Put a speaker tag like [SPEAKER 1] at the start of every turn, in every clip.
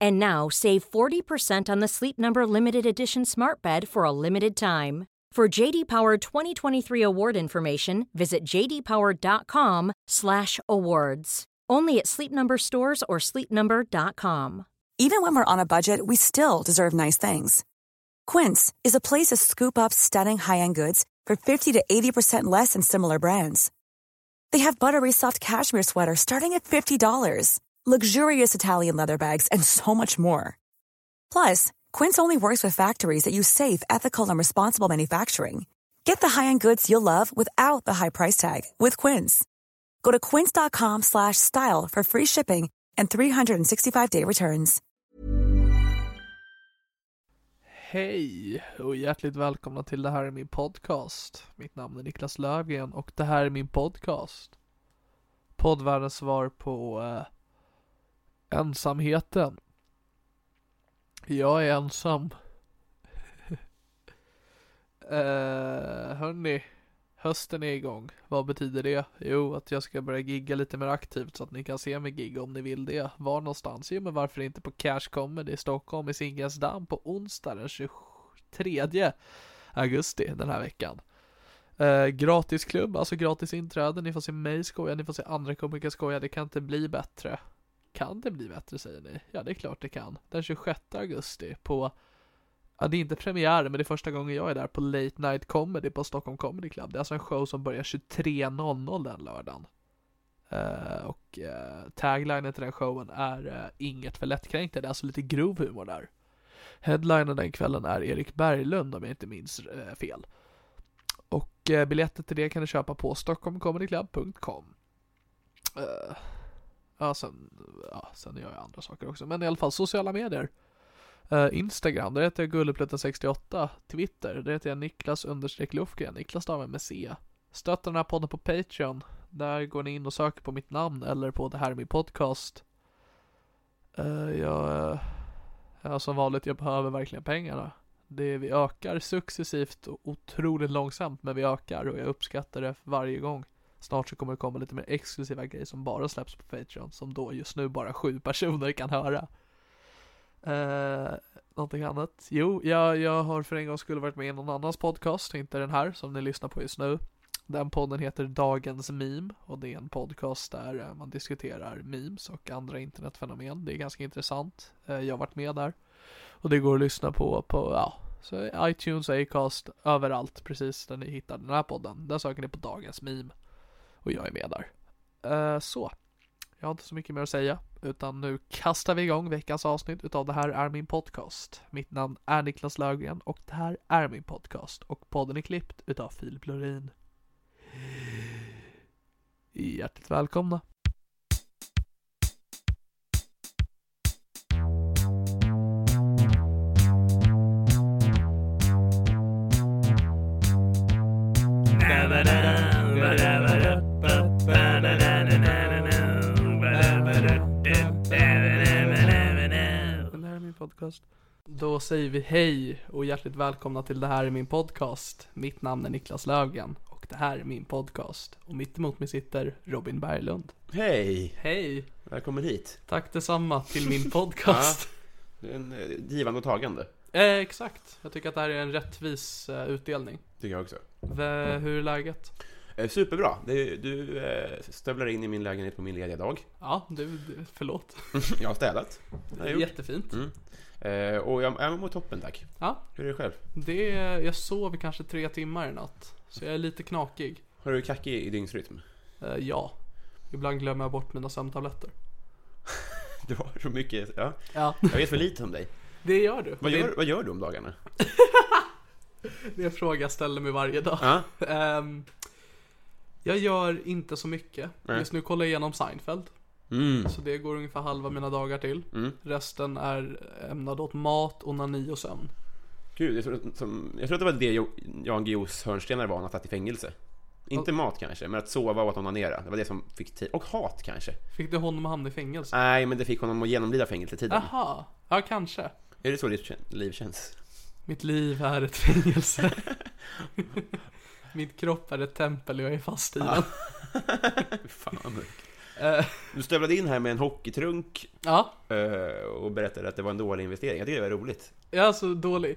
[SPEAKER 1] And now save 40% on the Sleep Number limited edition Smart Bed for a limited time. For JD Power 2023 award information, visit jdpower.com/awards. Only at Sleep Number stores or sleepnumber.com.
[SPEAKER 2] Even when we're on a budget, we still deserve nice things. Quince is a place to scoop up stunning high-end goods for 50 to 80% less than similar brands. They have buttery soft cashmere sweaters starting at $50, luxurious Italian leather bags, and so much more. Plus, Quince only works with factories that use safe, ethical, and responsible manufacturing. Get the high-end goods you'll love without the high price tag with Quince. Go to quince.com/style slash style for free shipping and 365-day returns.
[SPEAKER 3] Hej och hjärtligt välkomna till Det här är min podcast. Mitt namn är Niklas Lövgren och det här är min podcast. Poddvärldens svar på eh, ensamheten. Jag är ensam. eh, hörni, hösten är igång. Vad betyder det? Jo, att jag ska börja gigga lite mer aktivt så att ni kan se mig gigga om ni vill det. Var någonstans? Jo, men varför inte på Cash Comedy i Stockholm i Zinkensdamm på onsdag den 23 augusti den här veckan. Eh, gratisklubb, alltså gratis inträde. Ni får se mig skoja, ni får se andra komiker skoja. Det kan inte bli bättre. Kan det bli bättre säger ni? Ja, det är klart det kan. Den 26 augusti på Ja, det är inte premiär, men det är första gången jag är där på Late Night Comedy på Stockholm Comedy Club. Det är alltså en show som börjar 23.00 den lördagen. Eh, och eh, taglinen till den showen är eh, inget för lättkränkta. Det är alltså lite grov humor där. Headlinen den kvällen är Erik Berglund om jag inte minns eh, fel. Och eh, biljetter till det kan du köpa på stockholmcomedyclub.com. Eh, ja, sen, ja, sen gör jag andra saker också. Men i alla fall sociala medier. Eh, Instagram, där heter jag gulleplutta68. Twitter, där heter jag Niklas understreck Lufgren. Niklas stavar med C. Stötta den här podden på Patreon. Där går ni in och söker på mitt namn eller på det här är min podcast. Eh, jag, eh, ja, som vanligt, jag behöver verkligen pengarna. Det, vi ökar successivt och otroligt långsamt, men vi ökar och jag uppskattar det varje gång. Snart så kommer det komma lite mer exklusiva grejer som bara släpps på Patreon, som då just nu bara sju personer kan höra. Eh, någonting annat? Jo, jag, jag har för en gång skulle varit med i någon annans podcast, inte den här som ni lyssnar på just nu. Den podden heter Dagens Meme och det är en podcast där eh, man diskuterar memes och andra internetfenomen. Det är ganska intressant. Eh, jag har varit med där och det går att lyssna på på ja, så iTunes, Acast, överallt precis där ni hittar den här podden. Där söker ni på Dagens Meme och jag är med där. Eh, så. Jag har inte så mycket mer att säga, utan nu kastar vi igång veckans avsnitt utav Det här är min podcast. Mitt namn är Niklas Löfgren och det här är min podcast och podden är klippt utav Filip Lorin. Hjärtligt välkomna. Den här är min podcast. Då säger vi hej och hjärtligt välkomna till Det här är min podcast. Mitt namn är Niklas Löfgren och det här är min podcast. Och mitt emot mig sitter Robin Berglund.
[SPEAKER 4] Hej!
[SPEAKER 3] Hej!
[SPEAKER 4] Välkommen hit.
[SPEAKER 3] Tack detsamma till min podcast.
[SPEAKER 4] Det är en eh, givande och tagande.
[SPEAKER 3] eh, exakt. Jag tycker att det här är en rättvis eh, utdelning.
[SPEAKER 4] Tycker jag också.
[SPEAKER 3] V- hur är läget?
[SPEAKER 4] Eh, Superbra. Det- Du eh, stövlar in i min lägenhet på min lediga dag.
[SPEAKER 3] Ja, du, du- förlåt.
[SPEAKER 4] Jag har städat. Det har jag gjort.
[SPEAKER 3] Jättefint.
[SPEAKER 4] Mm. Eh, Och jag, jag mår toppen tack.
[SPEAKER 3] Ja,
[SPEAKER 4] Hur är det själv?
[SPEAKER 3] det, jag sov kanske tre timmar i natt. Så jag är lite knakig.
[SPEAKER 4] Har du kackig i dygnsrytm?
[SPEAKER 3] Eh, ja. Ibland glömmer jag bort mina sömntabletter.
[SPEAKER 4] Du har så mycket, ja.
[SPEAKER 3] Ja,
[SPEAKER 4] Jag vet för lite om dig.
[SPEAKER 3] det gör du.
[SPEAKER 4] Vad gör, vad gör du om dagarna?
[SPEAKER 3] Det är en fråga jag ställer mig varje dag.
[SPEAKER 4] Ja,
[SPEAKER 3] Ehm, jag gör inte så mycket.
[SPEAKER 4] Nej.
[SPEAKER 3] Just nu kollar jag igenom Seinfeld.
[SPEAKER 4] mm.
[SPEAKER 3] Så det går ungefär halva mina dagar till.
[SPEAKER 4] Mm.
[SPEAKER 3] Resten är ämnad åt mat, onani och sömn.
[SPEAKER 4] Gud, jag tror, att- som, jag tror att det var det Jo- Jan Guillous hörnstenar var när han satt i fängelse. Inte mat kanske, men att sova och att onanera. Det var det som fick tid. Och hat kanske.
[SPEAKER 3] Fick det honom att hamna i fängelse?
[SPEAKER 4] Nej, men det fick honom att genomlida fängelsetiden.
[SPEAKER 3] Aha, ja kanske.
[SPEAKER 4] Är det så ditt kän- liv känns?
[SPEAKER 3] Mitt liv är ett fängelse. Min kropp är ett tempel och jag är fast i
[SPEAKER 4] Ah.
[SPEAKER 3] den.
[SPEAKER 4] Fan vad mörkt.
[SPEAKER 3] Eh,
[SPEAKER 4] Du stövlade in här med en hockeytrunk
[SPEAKER 3] ja,
[SPEAKER 4] eh, och berättade att det var en dålig investering. Jag tycker det var roligt.
[SPEAKER 3] jag är alltså dålig.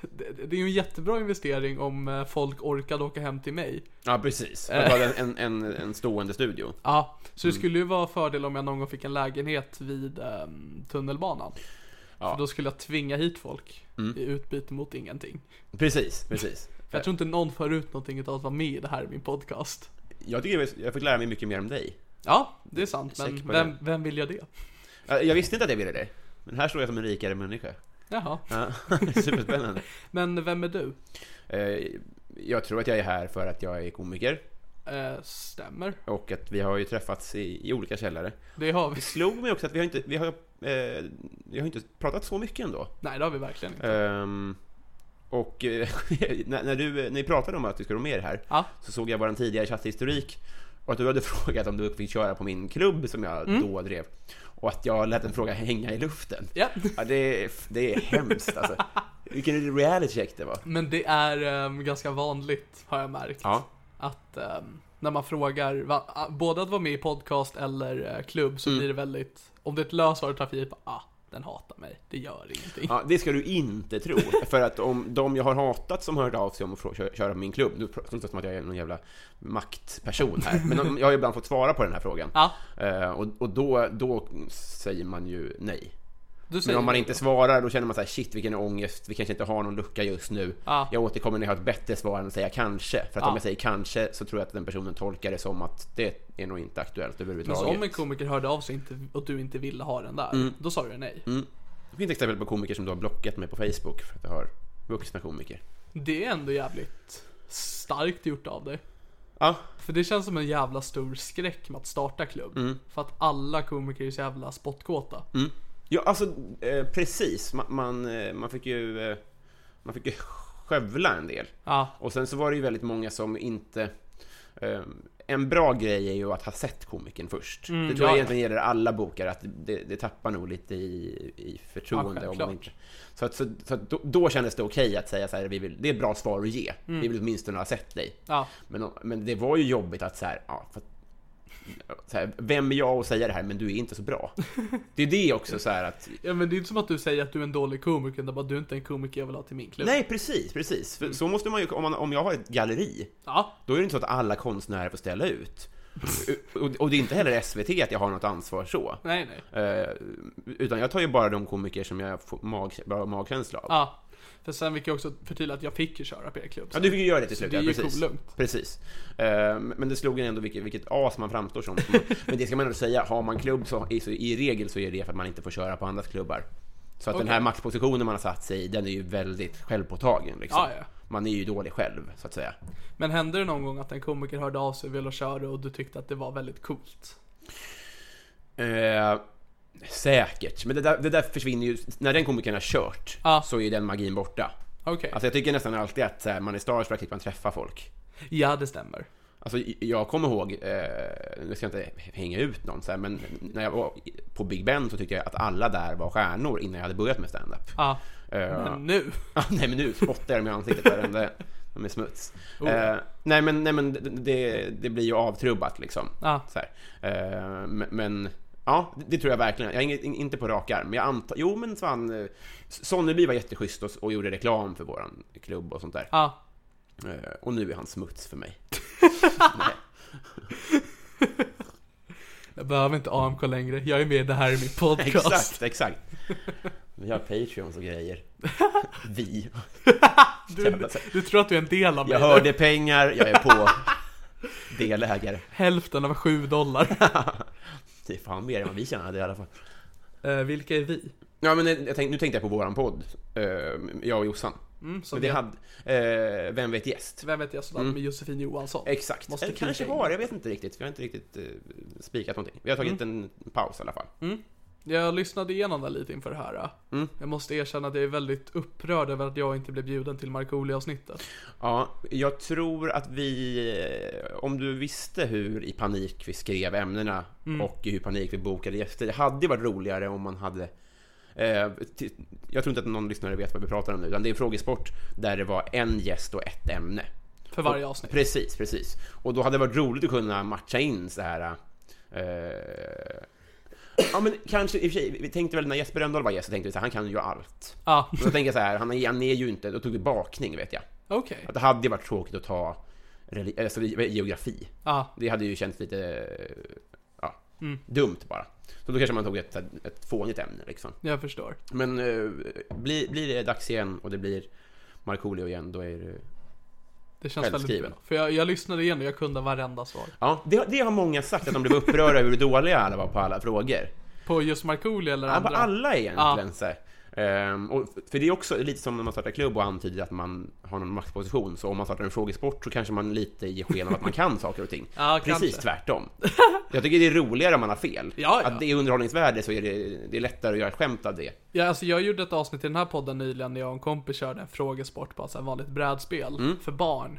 [SPEAKER 3] Det, det är ju en jättebra investering om eh, folk orkade åka hem till mig.
[SPEAKER 4] Ja, precis. Att ha en, en, en, en stående studio.
[SPEAKER 3] Ja, så det
[SPEAKER 4] Mm.
[SPEAKER 3] skulle ju vara fördel om jag någon gång fick en lägenhet vid ehm, tunnelbanan.
[SPEAKER 4] Ja. Mm.
[SPEAKER 3] För då skulle jag tvinga hit folk i utbyte mot ingenting.
[SPEAKER 4] Precis, precis.
[SPEAKER 3] För jag tror inte någon för ut någonting utav att vara med i det här i min podcast.
[SPEAKER 4] Jag tycker jag fick lära mig mycket mer om dig.
[SPEAKER 3] Ja, det är sant,
[SPEAKER 4] Säker
[SPEAKER 3] men
[SPEAKER 4] på
[SPEAKER 3] vem,
[SPEAKER 4] det.
[SPEAKER 3] vem vill jag det?
[SPEAKER 4] Jag jag visste inte att jag ville det. Men här står jag som en rikare människa.
[SPEAKER 3] Jaha,
[SPEAKER 4] Ja, superspännande.
[SPEAKER 3] men vem är du?
[SPEAKER 4] Eh, Jag tror att jag är här för att jag är komiker
[SPEAKER 3] Eh, stämmer,
[SPEAKER 4] och att vi har ju träffats i, i olika källare.
[SPEAKER 3] det har vi.
[SPEAKER 4] Det slog mig också att vi har inte, vi har, eh, vi har inte pratat så mycket ändå.
[SPEAKER 3] Nej, det har vi verkligen inte.
[SPEAKER 4] Ehm, och eh, när, när, du, när ni pratade om att du skulle vara med här
[SPEAKER 3] Ja.
[SPEAKER 4] så såg jag vår tidigare chatthistorik och att du hade frågat om du fick köra på min klubb som jag då drev och att jag lät en fråga hänga i luften.
[SPEAKER 3] Ja,
[SPEAKER 4] Ja, det, är- det är hemskt alltså. Vilken reality check det var.
[SPEAKER 3] men det är ehm, ganska vanligt har jag märkt.
[SPEAKER 4] Ja.
[SPEAKER 3] Att ehm, när man frågar, va, ah, både att vara med i podcast eller eh, klubb
[SPEAKER 4] Mm.
[SPEAKER 3] så blir det väldigt, om det är ett lösvarutrafik, bara ah, den hatar mig, det gör ingenting.
[SPEAKER 4] Ja, det ska du inte tro. För att om de jag har hatat som har hört av sig om att frå- kö- köra på min klubb, nu pratar jag inte som att jag är någon jävla maktperson här, men om- jag har ju ibland fått svara på den här frågan.
[SPEAKER 3] Ja,
[SPEAKER 4] Eh, och och då, då säger man ju nej.
[SPEAKER 3] du säger
[SPEAKER 4] Men om man
[SPEAKER 3] det.
[SPEAKER 4] inte svarar, då känner man så här shit vilken ångest, vi kanske inte har någon lucka just nu.
[SPEAKER 3] Ja.
[SPEAKER 4] Jag återkommer när jag har ett bättre svar än att säga kanske. För att
[SPEAKER 3] Ja.
[SPEAKER 4] om jag säger kanske så tror jag att den personen tolkar det som att det är nog inte aktuellt
[SPEAKER 3] Men
[SPEAKER 4] överhuvudtaget.
[SPEAKER 3] så om en komiker hörde av sig inte, och du inte ville ha den där,
[SPEAKER 4] Mm.
[SPEAKER 3] då sa du nej.
[SPEAKER 4] Det finns exempel på komiker som då har blockat mig på Facebook för att jag har vuxna komiker.
[SPEAKER 3] Det är ändå jävligt starkt gjort av dig.
[SPEAKER 4] Ja,
[SPEAKER 3] För det känns som en jävla stor skräck med att starta klubb.
[SPEAKER 4] Mm.
[SPEAKER 3] För att alla komiker är så jävla spottkåta.
[SPEAKER 4] Ja, alltså eh, precis. Man, man, eh, man fick ju eh, man fick ju skövla en del.
[SPEAKER 3] Ja,
[SPEAKER 4] Och sen så var det ju väldigt många som inte... Eh, en bra grej är ju att ha sett komikern först. det tror
[SPEAKER 3] Mm, ja, ja.
[SPEAKER 4] jag egentligen gäller alla bokare, att det, det tappar nog lite i, i förtroende
[SPEAKER 3] Ja,
[SPEAKER 4] om man
[SPEAKER 3] självklart.
[SPEAKER 4] inte... Så, att, så, så att då, då kändes det okej att säga så här, vi vill, det är ett bra svar att ge.
[SPEAKER 3] Mm.
[SPEAKER 4] Vi vill åtminstone ha sett dig.
[SPEAKER 3] ja,
[SPEAKER 4] Men, om- men det var ju jobbigt att så här, ja, för, att- så här, vem är jag att säga det här, men du är inte så bra. Det är det också så här att,
[SPEAKER 3] Ja men det är inte som att du säger att du är en dålig komiker, utan bara du är inte en komiker jag vill ha till min klubb.
[SPEAKER 4] Nej, precis, precis. För så måste man ju, om, man, om jag har ett galleri,
[SPEAKER 3] Ja,
[SPEAKER 4] då är det inte så att alla konstnärer får ställa ut. och, och det är inte heller SVT att jag har något ansvar så.
[SPEAKER 3] nej nej.
[SPEAKER 4] Eh, utan jag tar ju bara de komiker som jag får mag, bra magkänsla av.
[SPEAKER 3] Ja. För sen fick jag också förtydliga att jag fick ju köra på er klubb.
[SPEAKER 4] Ja, du fick ju göra det till slut.
[SPEAKER 3] det är
[SPEAKER 4] ja,
[SPEAKER 3] ju
[SPEAKER 4] precis.
[SPEAKER 3] kolugnt.
[SPEAKER 4] precis. Eh, men det slog en ändå vilket, vilket as man framstår som. men det ska man ändå säga, har man klubb så i, så i regel så är det för att man inte får köra på andras klubbar. Så att den
[SPEAKER 3] Okej.
[SPEAKER 4] här maktpositionen man har satt sig i, den är ju väldigt självpåtagen. Liksom.
[SPEAKER 3] Ja, ja.
[SPEAKER 4] Man är ju dålig själv, så att säga.
[SPEAKER 3] Men hände det någon gång att en komiker hörde av sig och ville köra och du tyckte att det var väldigt coolt?
[SPEAKER 4] Eh, säkert, men det där, det där försvinner ju. När den komikern har kört
[SPEAKER 3] Ja.
[SPEAKER 4] så är den magin borta.
[SPEAKER 3] Okej.
[SPEAKER 4] Alltså jag tycker nästan alltid att så här, man är starstruck tills man träffar folk.
[SPEAKER 3] Ja, det stämmer.
[SPEAKER 4] Alltså j- jag kommer ihåg, eh, nu ska jag inte hänga ut någon så här, men när jag var i- på Big Ben så tyckte jag att alla där var stjärnor innan jag hade börjat med standup.
[SPEAKER 3] Ja.
[SPEAKER 4] Eh,
[SPEAKER 3] Ah, Men nu.
[SPEAKER 4] Ja, nej men nu spottar jag dem i ansiktet varenda en. De är smuts.
[SPEAKER 3] Oh.
[SPEAKER 4] Eh, nej men, nej, men det- det, det blir ju avtrubbat liksom.
[SPEAKER 3] Ja.
[SPEAKER 4] Så här. Eh, m- men ja, det, det tror jag verkligen. Jag är inget, in- inte på rak arm. Men jag antar, jo men Svan, eh, Sonneby var jätteschysst och,
[SPEAKER 3] Ah.
[SPEAKER 4] och gjorde reklam för våran klubb och sånt där.
[SPEAKER 3] Ja.
[SPEAKER 4] Eh, och nu är han smuts för mig.
[SPEAKER 3] Jag behöver inte AMK längre, jag är med i det här i min podcast.
[SPEAKER 4] Exakt, exakt. Vi har Patreons och grejer. Vi.
[SPEAKER 3] Du, du tror att du är en del av mig
[SPEAKER 4] Jag
[SPEAKER 3] nu.
[SPEAKER 4] hörde pengar, jag är på. Delägare.
[SPEAKER 3] Hälften av sju dollar.
[SPEAKER 4] Det är fan mer än vad vi tjänade i alla fall.
[SPEAKER 3] Eh, vilka är vi?
[SPEAKER 4] Ja, men jag tänkte, nu tänkte jag på våran podd. Eh, Jag och Jossan.
[SPEAKER 3] Mm,
[SPEAKER 4] Men
[SPEAKER 3] som
[SPEAKER 4] det
[SPEAKER 3] det
[SPEAKER 4] hade, Mm. eh, vem vet gäst?
[SPEAKER 3] Vem vet jag sådär med Josefin Johansson.
[SPEAKER 4] Exakt.
[SPEAKER 3] Måste
[SPEAKER 4] Eller
[SPEAKER 3] klinka
[SPEAKER 4] kanske
[SPEAKER 3] in.
[SPEAKER 4] har, jag vet inte riktigt. Vi har inte riktigt eh, spikat någonting. Vi har tagit en paus i alla fall.
[SPEAKER 3] Jag lyssnade igenom den lite inför det här.
[SPEAKER 4] Mm.
[SPEAKER 3] Jag måste erkänna att jag är väldigt upprörd över att jag inte blev bjuden till Markoolio-avsnittet.
[SPEAKER 4] Ja, jag tror att vi... eh, Om du visste hur i panik vi skrev ämnena
[SPEAKER 3] Mm.
[SPEAKER 4] och i hur panik vi bokade gäster. Det hade ju varit roligare om man hade... Eh, ti- jag tror inte att någon lyssnare vet vad vi pratar om nu, utan det är en frågesport där det var en gäst och ett ämne.
[SPEAKER 3] För varje avsnitt.
[SPEAKER 4] Precis, precis. Och då hade det varit roligt att kunna matcha in så här... Eh, ja, men kanske i och för sig. Vi tänkte väl när Jesper Rönndahl var gäst så tänkte vi så här, han kan ju allt.
[SPEAKER 3] Ah,
[SPEAKER 4] Och då tänker jag så här, han är, han är ju inte... Då tog vi bakning, vet jag.
[SPEAKER 3] okej.
[SPEAKER 4] Att det hade ju varit tråkigt att ta reli- alltså, geografi.
[SPEAKER 3] Ah,
[SPEAKER 4] Det hade ju känts lite eh, ja, dumt bara. Så då kanske man tog ett, ett fånigt ämne liksom.
[SPEAKER 3] jag förstår.
[SPEAKER 4] Men eh, blir, blir det dags igen och det blir Markoolio igen, då är det...
[SPEAKER 3] Det känns väldigt
[SPEAKER 4] Självskriven.
[SPEAKER 3] bra. För jag, jag lyssnade igen och jag kunde varenda svar.
[SPEAKER 4] Ja, det, det har många sagt, att de blev upprörda över hur dåliga alla var på alla frågor.
[SPEAKER 3] På just Markoolio eller
[SPEAKER 4] Ja, på
[SPEAKER 3] andra?
[SPEAKER 4] alla egentligen. Så här. Ehm, och för det är också lite som när man startar klubb och antyder att man har någon maktposition, så om man startar en frågesport så kanske man lite ger sken av att man kan saker och ting.
[SPEAKER 3] Ja,
[SPEAKER 4] Precis
[SPEAKER 3] kanske.
[SPEAKER 4] tvärtom. Jag tycker det är roligare om man har fel.
[SPEAKER 3] Ja, ja.
[SPEAKER 4] Att det är underhållningsvärde så är det, det är lättare att göra ett skämt av det.
[SPEAKER 3] Ja, alltså jag gjorde ett avsnitt i den här podden nyligen när jag och en kompis körde en frågesport på ett vanligt brädspel
[SPEAKER 4] Mm.
[SPEAKER 3] för barn.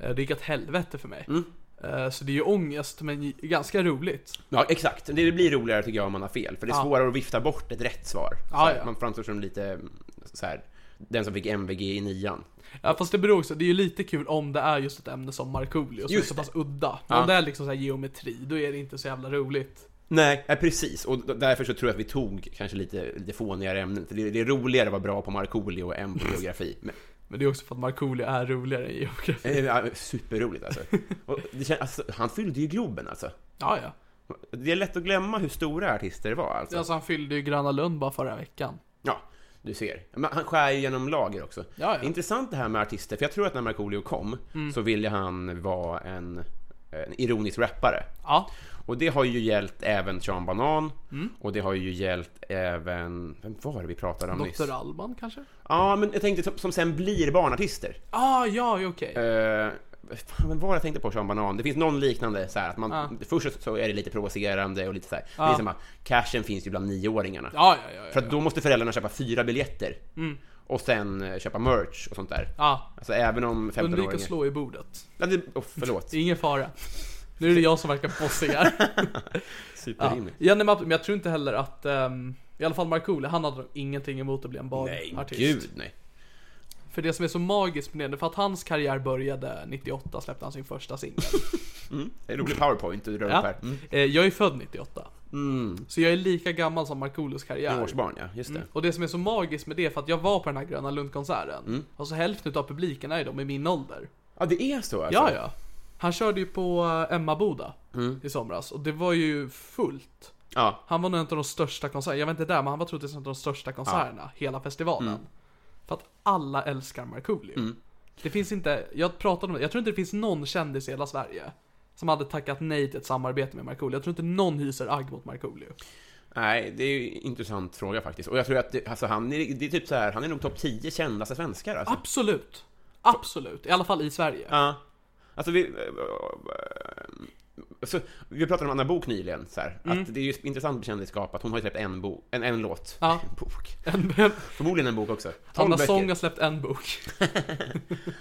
[SPEAKER 3] Eh, Det gick åt helvete för mig. Eh, Så det är ju ångest, men ganska roligt.
[SPEAKER 4] Ja, exakt. Det blir roligare tycker jag om man har fel, för det är
[SPEAKER 3] Ja.
[SPEAKER 4] svårare att vifta bort ett rätt svar. Så
[SPEAKER 3] Ja,
[SPEAKER 4] här,
[SPEAKER 3] ja.
[SPEAKER 4] Man framstår som lite så här, den som fick MVG i nian.
[SPEAKER 3] Ja, fast det beror också, det är ju lite kul om det är just ett ämne som Markoolio som är
[SPEAKER 4] Just
[SPEAKER 3] så
[SPEAKER 4] det.
[SPEAKER 3] pass udda. Men
[SPEAKER 4] Ja.
[SPEAKER 3] Om det är liksom så här geometri, då är det inte så jävla roligt.
[SPEAKER 4] Nej, ja, precis. Och d- därför så tror jag att vi tog kanske lite, lite fånigare ämnen. För det, det är roligare att vara bra på Markoolio än på geografi. Men,
[SPEAKER 3] Men det är också för att Markoolio är roligare än geografi.
[SPEAKER 4] eh, ja, superroligt alltså. Och det kän, alltså. Han fyllde ju Globen alltså.
[SPEAKER 3] Ja, ja.
[SPEAKER 4] Det är lätt att glömma hur stora artister det var alltså.
[SPEAKER 3] Alltså han fyllde ju Gröna Lund bara förra veckan.
[SPEAKER 4] Ja, du ser. Men han skär ju genom lager också.
[SPEAKER 3] Ja, Mm. ja.
[SPEAKER 4] Intressant det här med artister, för jag tror att när Markoolio kom så ville han vara en, en ironisk rappare.
[SPEAKER 3] Ja,
[SPEAKER 4] Och det har ju gällt även Sean Banan
[SPEAKER 3] Mm.
[SPEAKER 4] och det har ju gällt även... Vem var det vi pratade om nyss?
[SPEAKER 3] Dr. Alban kanske?
[SPEAKER 4] Ja, men jag tänkte som, som sen blir barnartister.
[SPEAKER 3] Ah, ja, ja, okej.
[SPEAKER 4] Uh, fan, men vad var det jag tänkte på Sean Banan? Det finns någon liknande så här att man...
[SPEAKER 3] Ja.
[SPEAKER 4] Först så är det lite provocerande och lite så här. Det är som att cashen finns ju bland nioåringarna.
[SPEAKER 3] Ja, Mm. ja, ja.
[SPEAKER 4] För
[SPEAKER 3] Ja,
[SPEAKER 4] att då måste föräldrarna köpa fyra biljetter. Och sen eh, köpa merch och sånt där.
[SPEAKER 3] ja.
[SPEAKER 4] Alltså även om
[SPEAKER 3] undvik att
[SPEAKER 4] 15-åringar...
[SPEAKER 3] slå i bordet.
[SPEAKER 4] Ja, det, oh, förlåt.
[SPEAKER 3] Det är ingen fara. Nu är det jag som verkar bossig här. Ja.
[SPEAKER 4] Superrimligt.
[SPEAKER 3] Ja, nej, men men jag tror inte heller att, ehm, i alla fall Markoolio, han hade nog ingenting emot att bli en
[SPEAKER 4] Nej,
[SPEAKER 3] barnartist.
[SPEAKER 4] gud nej.
[SPEAKER 3] För det som är så magiskt med det, för att hans karriär började 98, släppte han sin första singel.
[SPEAKER 4] Det är en rolig powerpoint du drar upp
[SPEAKER 3] ja.
[SPEAKER 4] här. Mm.
[SPEAKER 3] Eh, Jag är född 98. Så jag är lika gammal som Markoolios karriär.
[SPEAKER 4] Årsbarn, ja. Just det.
[SPEAKER 3] Och det som är så magiskt med det är för att jag var på den här Gröna Lund-konserten.
[SPEAKER 4] Mm.
[SPEAKER 3] Alltså hälften av publiken är ju de i min ålder.
[SPEAKER 4] Ja, det är så alltså.
[SPEAKER 3] Ja, ja. Han körde ju på eh, Emmaboda
[SPEAKER 4] Mm.
[SPEAKER 3] i somras och det var ju fullt.
[SPEAKER 4] ja.
[SPEAKER 3] Han var nog en av de största konserterna, jag var inte där men han var troligtvis en av de största konserterna hela festivalen.
[SPEAKER 4] Mm.
[SPEAKER 3] För att alla älskar Markoolio. Det finns inte, jag pratade om det, jag tror inte det finns någon kändis i hela Sverige som hade tackat nej till ett samarbete med Markoolio. Jag tror inte någon hyser agg mot Markoolio.
[SPEAKER 4] Nej, det är ju en intressant fråga faktiskt. Och jag tror att det, alltså, han, är, det är typ så här, han är nog topp 10 kändaste svenskar alltså.
[SPEAKER 3] Absolut! Absolut, i alla fall i Sverige.
[SPEAKER 4] Ja. Alltså vi... eh, Så, vi pratade om Anna Bok nyligen, så här,
[SPEAKER 3] Mm.
[SPEAKER 4] att det är ju intressant med kändisskap att hon har ju släppt en, bo, en, en låt.
[SPEAKER 3] Ja.
[SPEAKER 4] En bok.
[SPEAKER 3] En, en,
[SPEAKER 4] Förmodligen en bok också. Tolv
[SPEAKER 3] Anna
[SPEAKER 4] böcker.
[SPEAKER 3] Sång har släppt en bok.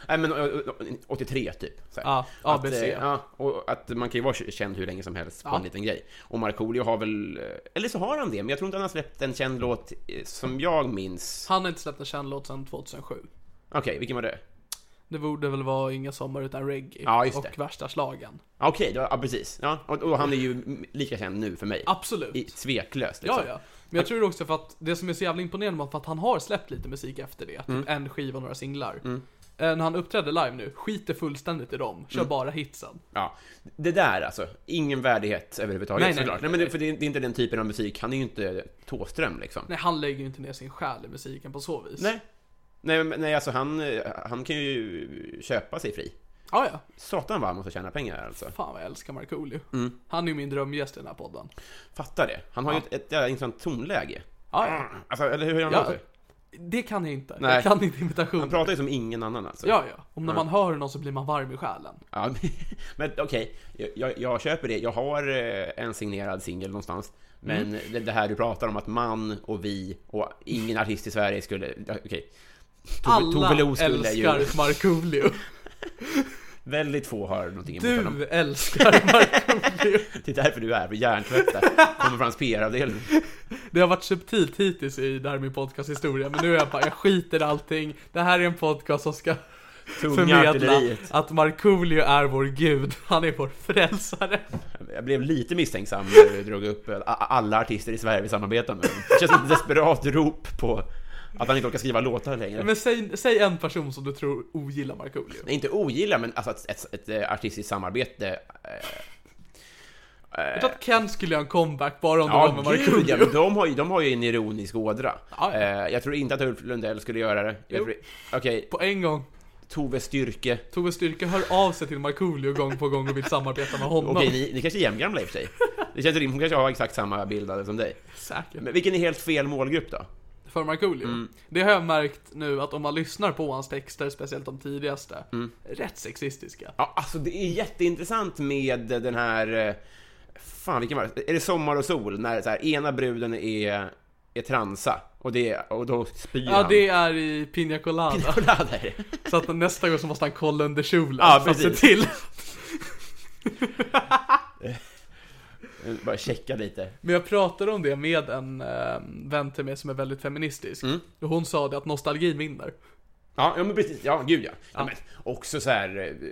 [SPEAKER 4] Nej men ö, ö, 83 typ. Så här.
[SPEAKER 3] Ja, ABC.
[SPEAKER 4] Att, eh, ja, och att man kan ju vara känd hur länge som helst på
[SPEAKER 3] Ja.
[SPEAKER 4] en liten grej. Och Markoolio har väl, eh, eller så har han det, men jag tror inte han har släppt en känd låt eh, som jag minns.
[SPEAKER 3] Han har inte släppt en känd låt sedan 2007.
[SPEAKER 4] Okej, vilken var det?
[SPEAKER 3] Det borde väl vara Inga sommar utan reggae
[SPEAKER 4] Ja, just
[SPEAKER 3] och
[SPEAKER 4] det.
[SPEAKER 3] värsta slagen.
[SPEAKER 4] Ja, Okej, då- ja precis. Ja, och, och han är ju m- lika känd nu för mig.
[SPEAKER 3] Absolut.
[SPEAKER 4] I, tveklöst liksom.
[SPEAKER 3] Ja, ja. Men jag tror
[SPEAKER 4] Mm.
[SPEAKER 3] också för att det som är så jävla imponerande med att- för att han har släppt lite musik efter det. Typ en skiva och några singlar. eh, när han uppträdde live nu, skiter fullständigt i dem,
[SPEAKER 4] Mm.
[SPEAKER 3] kör bara hitsen.
[SPEAKER 4] Ja, det där alltså. Ingen värdighet överhuvudtaget
[SPEAKER 3] Nej, nej,
[SPEAKER 4] såklart.
[SPEAKER 3] nej,
[SPEAKER 4] Nej, men det, för det, är- det är inte den typen av musik. Han är ju inte Tåström liksom.
[SPEAKER 3] Nej, han lägger ju inte ner sin själ i musiken på så vis.
[SPEAKER 4] Nej. Nej, men- nej alltså han, eh, han kan ju köpa sig fri.
[SPEAKER 3] Ah, ja,
[SPEAKER 4] Satan vad han måste tjäna pengar här, alltså.
[SPEAKER 3] Fan vad jag älskar Markoolio.
[SPEAKER 4] Mm.
[SPEAKER 3] Han är ju min drömgäst i den här podden.
[SPEAKER 4] Fattar det. Han har ju ett, ett jävla intressant tonläge.
[SPEAKER 3] Ah, ja.
[SPEAKER 4] Alltså, eller hur han
[SPEAKER 3] Ja.
[SPEAKER 4] låter?
[SPEAKER 3] Det kan jag inte.
[SPEAKER 4] Nej.
[SPEAKER 3] Jag kan inte imitation.
[SPEAKER 4] Han pratar ju som ingen annan alltså.
[SPEAKER 3] Ja, ja. Om när man hör någon så blir man varm i själen.
[SPEAKER 4] Ja, men- men okej, jag, jag, jag köper det. Jag har eh, en signerad singel någonstans. Men
[SPEAKER 3] Mm.
[SPEAKER 4] det, det här du pratar om att man och vi och ingen artist i Sverige skulle... ja, Okej. Tove-
[SPEAKER 3] Alla
[SPEAKER 4] Tove Lo skulle ju-
[SPEAKER 3] älskar Markoolio.
[SPEAKER 4] Väldigt få har någonting emot honom.
[SPEAKER 3] Du älskar Markoolio.
[SPEAKER 4] Det är därför du är på hjärntvättad. Kommer från hans PR-avdelning.
[SPEAKER 3] Det har varit subtilt hittills i det här med podcasthistoria, men nu är jag bara, jag skiter i allting. Det här är en podcast som ska
[SPEAKER 4] Tunga
[SPEAKER 3] förmedla
[SPEAKER 4] artilleriet.
[SPEAKER 3] att Markoolio är vår gud. Han är vår frälsare.
[SPEAKER 4] Jag blev lite misstänksam när du drog upp a- a- alla artister i Sverige vi samarbetar med. Det känns som ett desperat rop på att han inte orkar skriva låtar längre.
[SPEAKER 3] Men säg, säg en person som du tror ogillar Markoolio.
[SPEAKER 4] Nej, inte ogilla, men alltså ett, ett, ett eh, artistiskt samarbete. eh,
[SPEAKER 3] Jag tror att Ken skulle göra en comeback bara om det var
[SPEAKER 4] Ja,
[SPEAKER 3] med
[SPEAKER 4] gud ja,
[SPEAKER 3] Markoolio.
[SPEAKER 4] men de har, ju, de har ju en ironisk ådra.
[SPEAKER 3] Ja, ja.
[SPEAKER 4] Eh, Jag tror inte att Ulf Lundell skulle göra det. Jag
[SPEAKER 3] Jo.
[SPEAKER 4] tror- Okej,
[SPEAKER 3] På en gång.
[SPEAKER 4] Tove Styrke.
[SPEAKER 3] Tove Styrke hör av sig till Markoolio gång på gång och vill samarbeta med honom.
[SPEAKER 4] Okej, ni, ni kanske är jämngamla i och för sig. Det känns rimligt, hon kanske har exakt samma bildade som dig.
[SPEAKER 3] Säkert.
[SPEAKER 4] Men vilken är helt fel målgrupp då?
[SPEAKER 3] För Markoolio.
[SPEAKER 4] Mm.
[SPEAKER 3] Det har jag märkt nu att om man lyssnar på hans texter, speciellt de tidigaste,
[SPEAKER 4] Mm.
[SPEAKER 3] rätt sexistiska.
[SPEAKER 4] Ja, alltså det är jätteintressant med den här... eh, Fan, vilken var det? Är det Sommar och sol? När så här, ena bruden är, är transa och, det, och då spyr
[SPEAKER 3] Ja,
[SPEAKER 4] han.
[SPEAKER 3] det är i Pina Colada.
[SPEAKER 4] Kolla där.
[SPEAKER 3] Så att nästa gång så måste han kolla under kjolen.
[SPEAKER 4] Ja,
[SPEAKER 3] för att se
[SPEAKER 4] precis.
[SPEAKER 3] till.
[SPEAKER 4] Bara checka lite.
[SPEAKER 3] Men jag pratade om det med en eh, vän till mig som är väldigt feministisk.
[SPEAKER 4] Mm.
[SPEAKER 3] Och hon sa det att nostalgi vinner.
[SPEAKER 4] Ja, ja men precis. Ja, gud ja. ja. Men också så här, eh,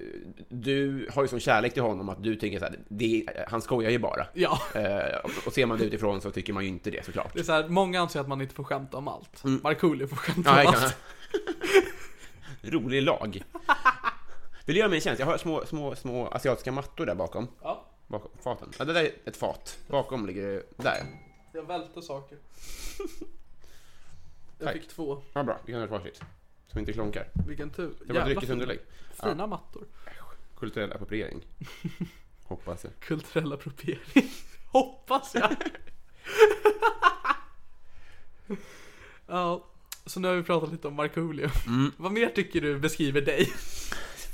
[SPEAKER 4] du har ju sån kärlek till honom att du tänker så här, det, han skojar ju bara.
[SPEAKER 3] Ja.
[SPEAKER 4] Eh, och, och ser man det utifrån så tycker man ju inte det såklart.
[SPEAKER 3] Det är så här, många anser att man inte får skämta om allt. Markoolio får skämta
[SPEAKER 4] Mm. Ja,
[SPEAKER 3] om
[SPEAKER 4] jag
[SPEAKER 3] allt.
[SPEAKER 4] kan. Rolig lag. Vill du göra mig en tjänst? Jag har små, små, små asiatiska mattor där bakom.
[SPEAKER 3] Ja,
[SPEAKER 4] Bakom faten. Ja, det där är ett fat. Bakom ligger det där.
[SPEAKER 3] jag välte saker. Jag
[SPEAKER 4] Tack.
[SPEAKER 3] fick två.
[SPEAKER 4] Ja, bra. Vi kan ha ett varsitt. Så vi inte klonkar.
[SPEAKER 3] Vilken tur.
[SPEAKER 4] Det var ett
[SPEAKER 3] Jävla
[SPEAKER 4] ryckigt
[SPEAKER 3] fina-
[SPEAKER 4] underlägg.
[SPEAKER 3] Fina mattor.
[SPEAKER 4] Kulturell appropriering. Hoppas jag.
[SPEAKER 3] Kulturell appropriering. Hoppas jag. ja, så nu har vi pratat lite om Markoolio. Vad mer tycker du beskriver dig?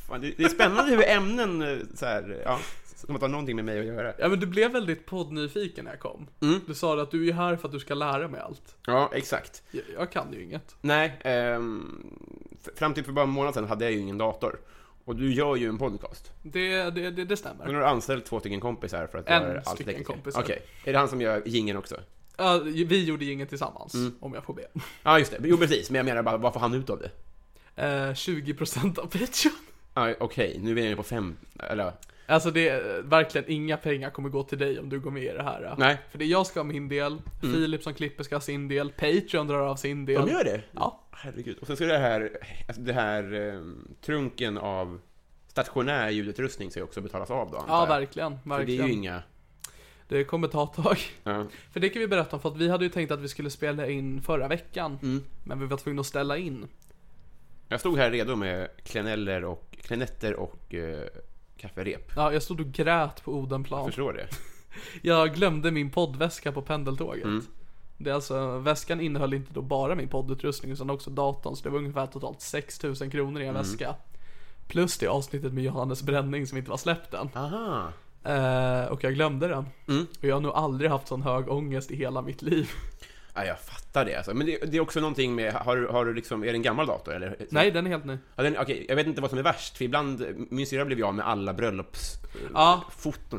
[SPEAKER 4] Fan, det, det är spännande hur ämnen eh, så här, ja, som att ha någonting med mig att göra.
[SPEAKER 3] Ja men du blev väldigt poddnyfiken när jag kom. Du sa att du är här för att du ska lära mig allt.
[SPEAKER 4] Ja, exakt.
[SPEAKER 3] Jag, jag kan ju inget.
[SPEAKER 4] Nej, ehm, f- fram till för bara en månad sedan hade jag ju ingen dator. Och du gör ju en podcast.
[SPEAKER 3] Det, det, det, det stämmer.
[SPEAKER 4] Men har du anställt två stycken kompisar för att
[SPEAKER 3] En
[SPEAKER 4] göra allt
[SPEAKER 3] stycken
[SPEAKER 4] tekniska.
[SPEAKER 3] kompisar.
[SPEAKER 4] Okej. Är det han som gör jingeln också?
[SPEAKER 3] Ja, vi gjorde inget tillsammans, om jag får be.
[SPEAKER 4] Ja, just det. Jo, precis. Men jag menar bara, vad får han ut av det?
[SPEAKER 3] Eh, 20% av Patreon.
[SPEAKER 4] Ja, Okej, nu är vi nere på fem, eller ja.
[SPEAKER 3] Alltså det är verkligen inga pengar kommer gå till dig om du går med i det här.
[SPEAKER 4] Nej. Mm.
[SPEAKER 3] För det är jag ska ha min del, Filip som klipper ska ha sin del, Patreon drar av sin del.
[SPEAKER 4] De gör det?
[SPEAKER 3] Ja.
[SPEAKER 4] Herregud. Och sen ska det här, alltså det här ehm, trunken av stationär ljudutrustning ska ju också betalas av då, antar
[SPEAKER 3] Ja,
[SPEAKER 4] jag.
[SPEAKER 3] verkligen.
[SPEAKER 4] För det
[SPEAKER 3] verkligen.
[SPEAKER 4] är ju inga...
[SPEAKER 3] det kommer ta ett tag.
[SPEAKER 4] Ja.
[SPEAKER 3] För det kan vi berätta om, för att vi hade ju tänkt att vi skulle spela in förra veckan.
[SPEAKER 4] Mm.
[SPEAKER 3] Men vi var tvungna att ställa in.
[SPEAKER 4] Jag stod här redo med kleneller och, klenetter och eh, kafferep.
[SPEAKER 3] Ja, jag stod och grät på Odenplan.
[SPEAKER 4] Jag förstår det.
[SPEAKER 3] Jag glömde min poddväska på pendeltåget. Det är alltså, väskan innehöll inte då bara min poddutrustning utan också datorn så det var ungefär totalt 6000 kronor i en väska. Plus det avsnittet med Johannes Bränning som inte var släppt än.
[SPEAKER 4] Aha.
[SPEAKER 3] Eh, och jag glömde den. Och jag har nog aldrig haft sån hög ångest i hela mitt liv.
[SPEAKER 4] Ja, jag fattar det alltså. Men det, det är också någonting med, har, du- har du liksom, är det en gammal dator eller?
[SPEAKER 3] Nej, den är helt ny.
[SPEAKER 4] Ja, den, okej, jag vet inte vad som är värst, för ibland, min syrra blev jag med alla bröllopsfoton
[SPEAKER 3] Ja,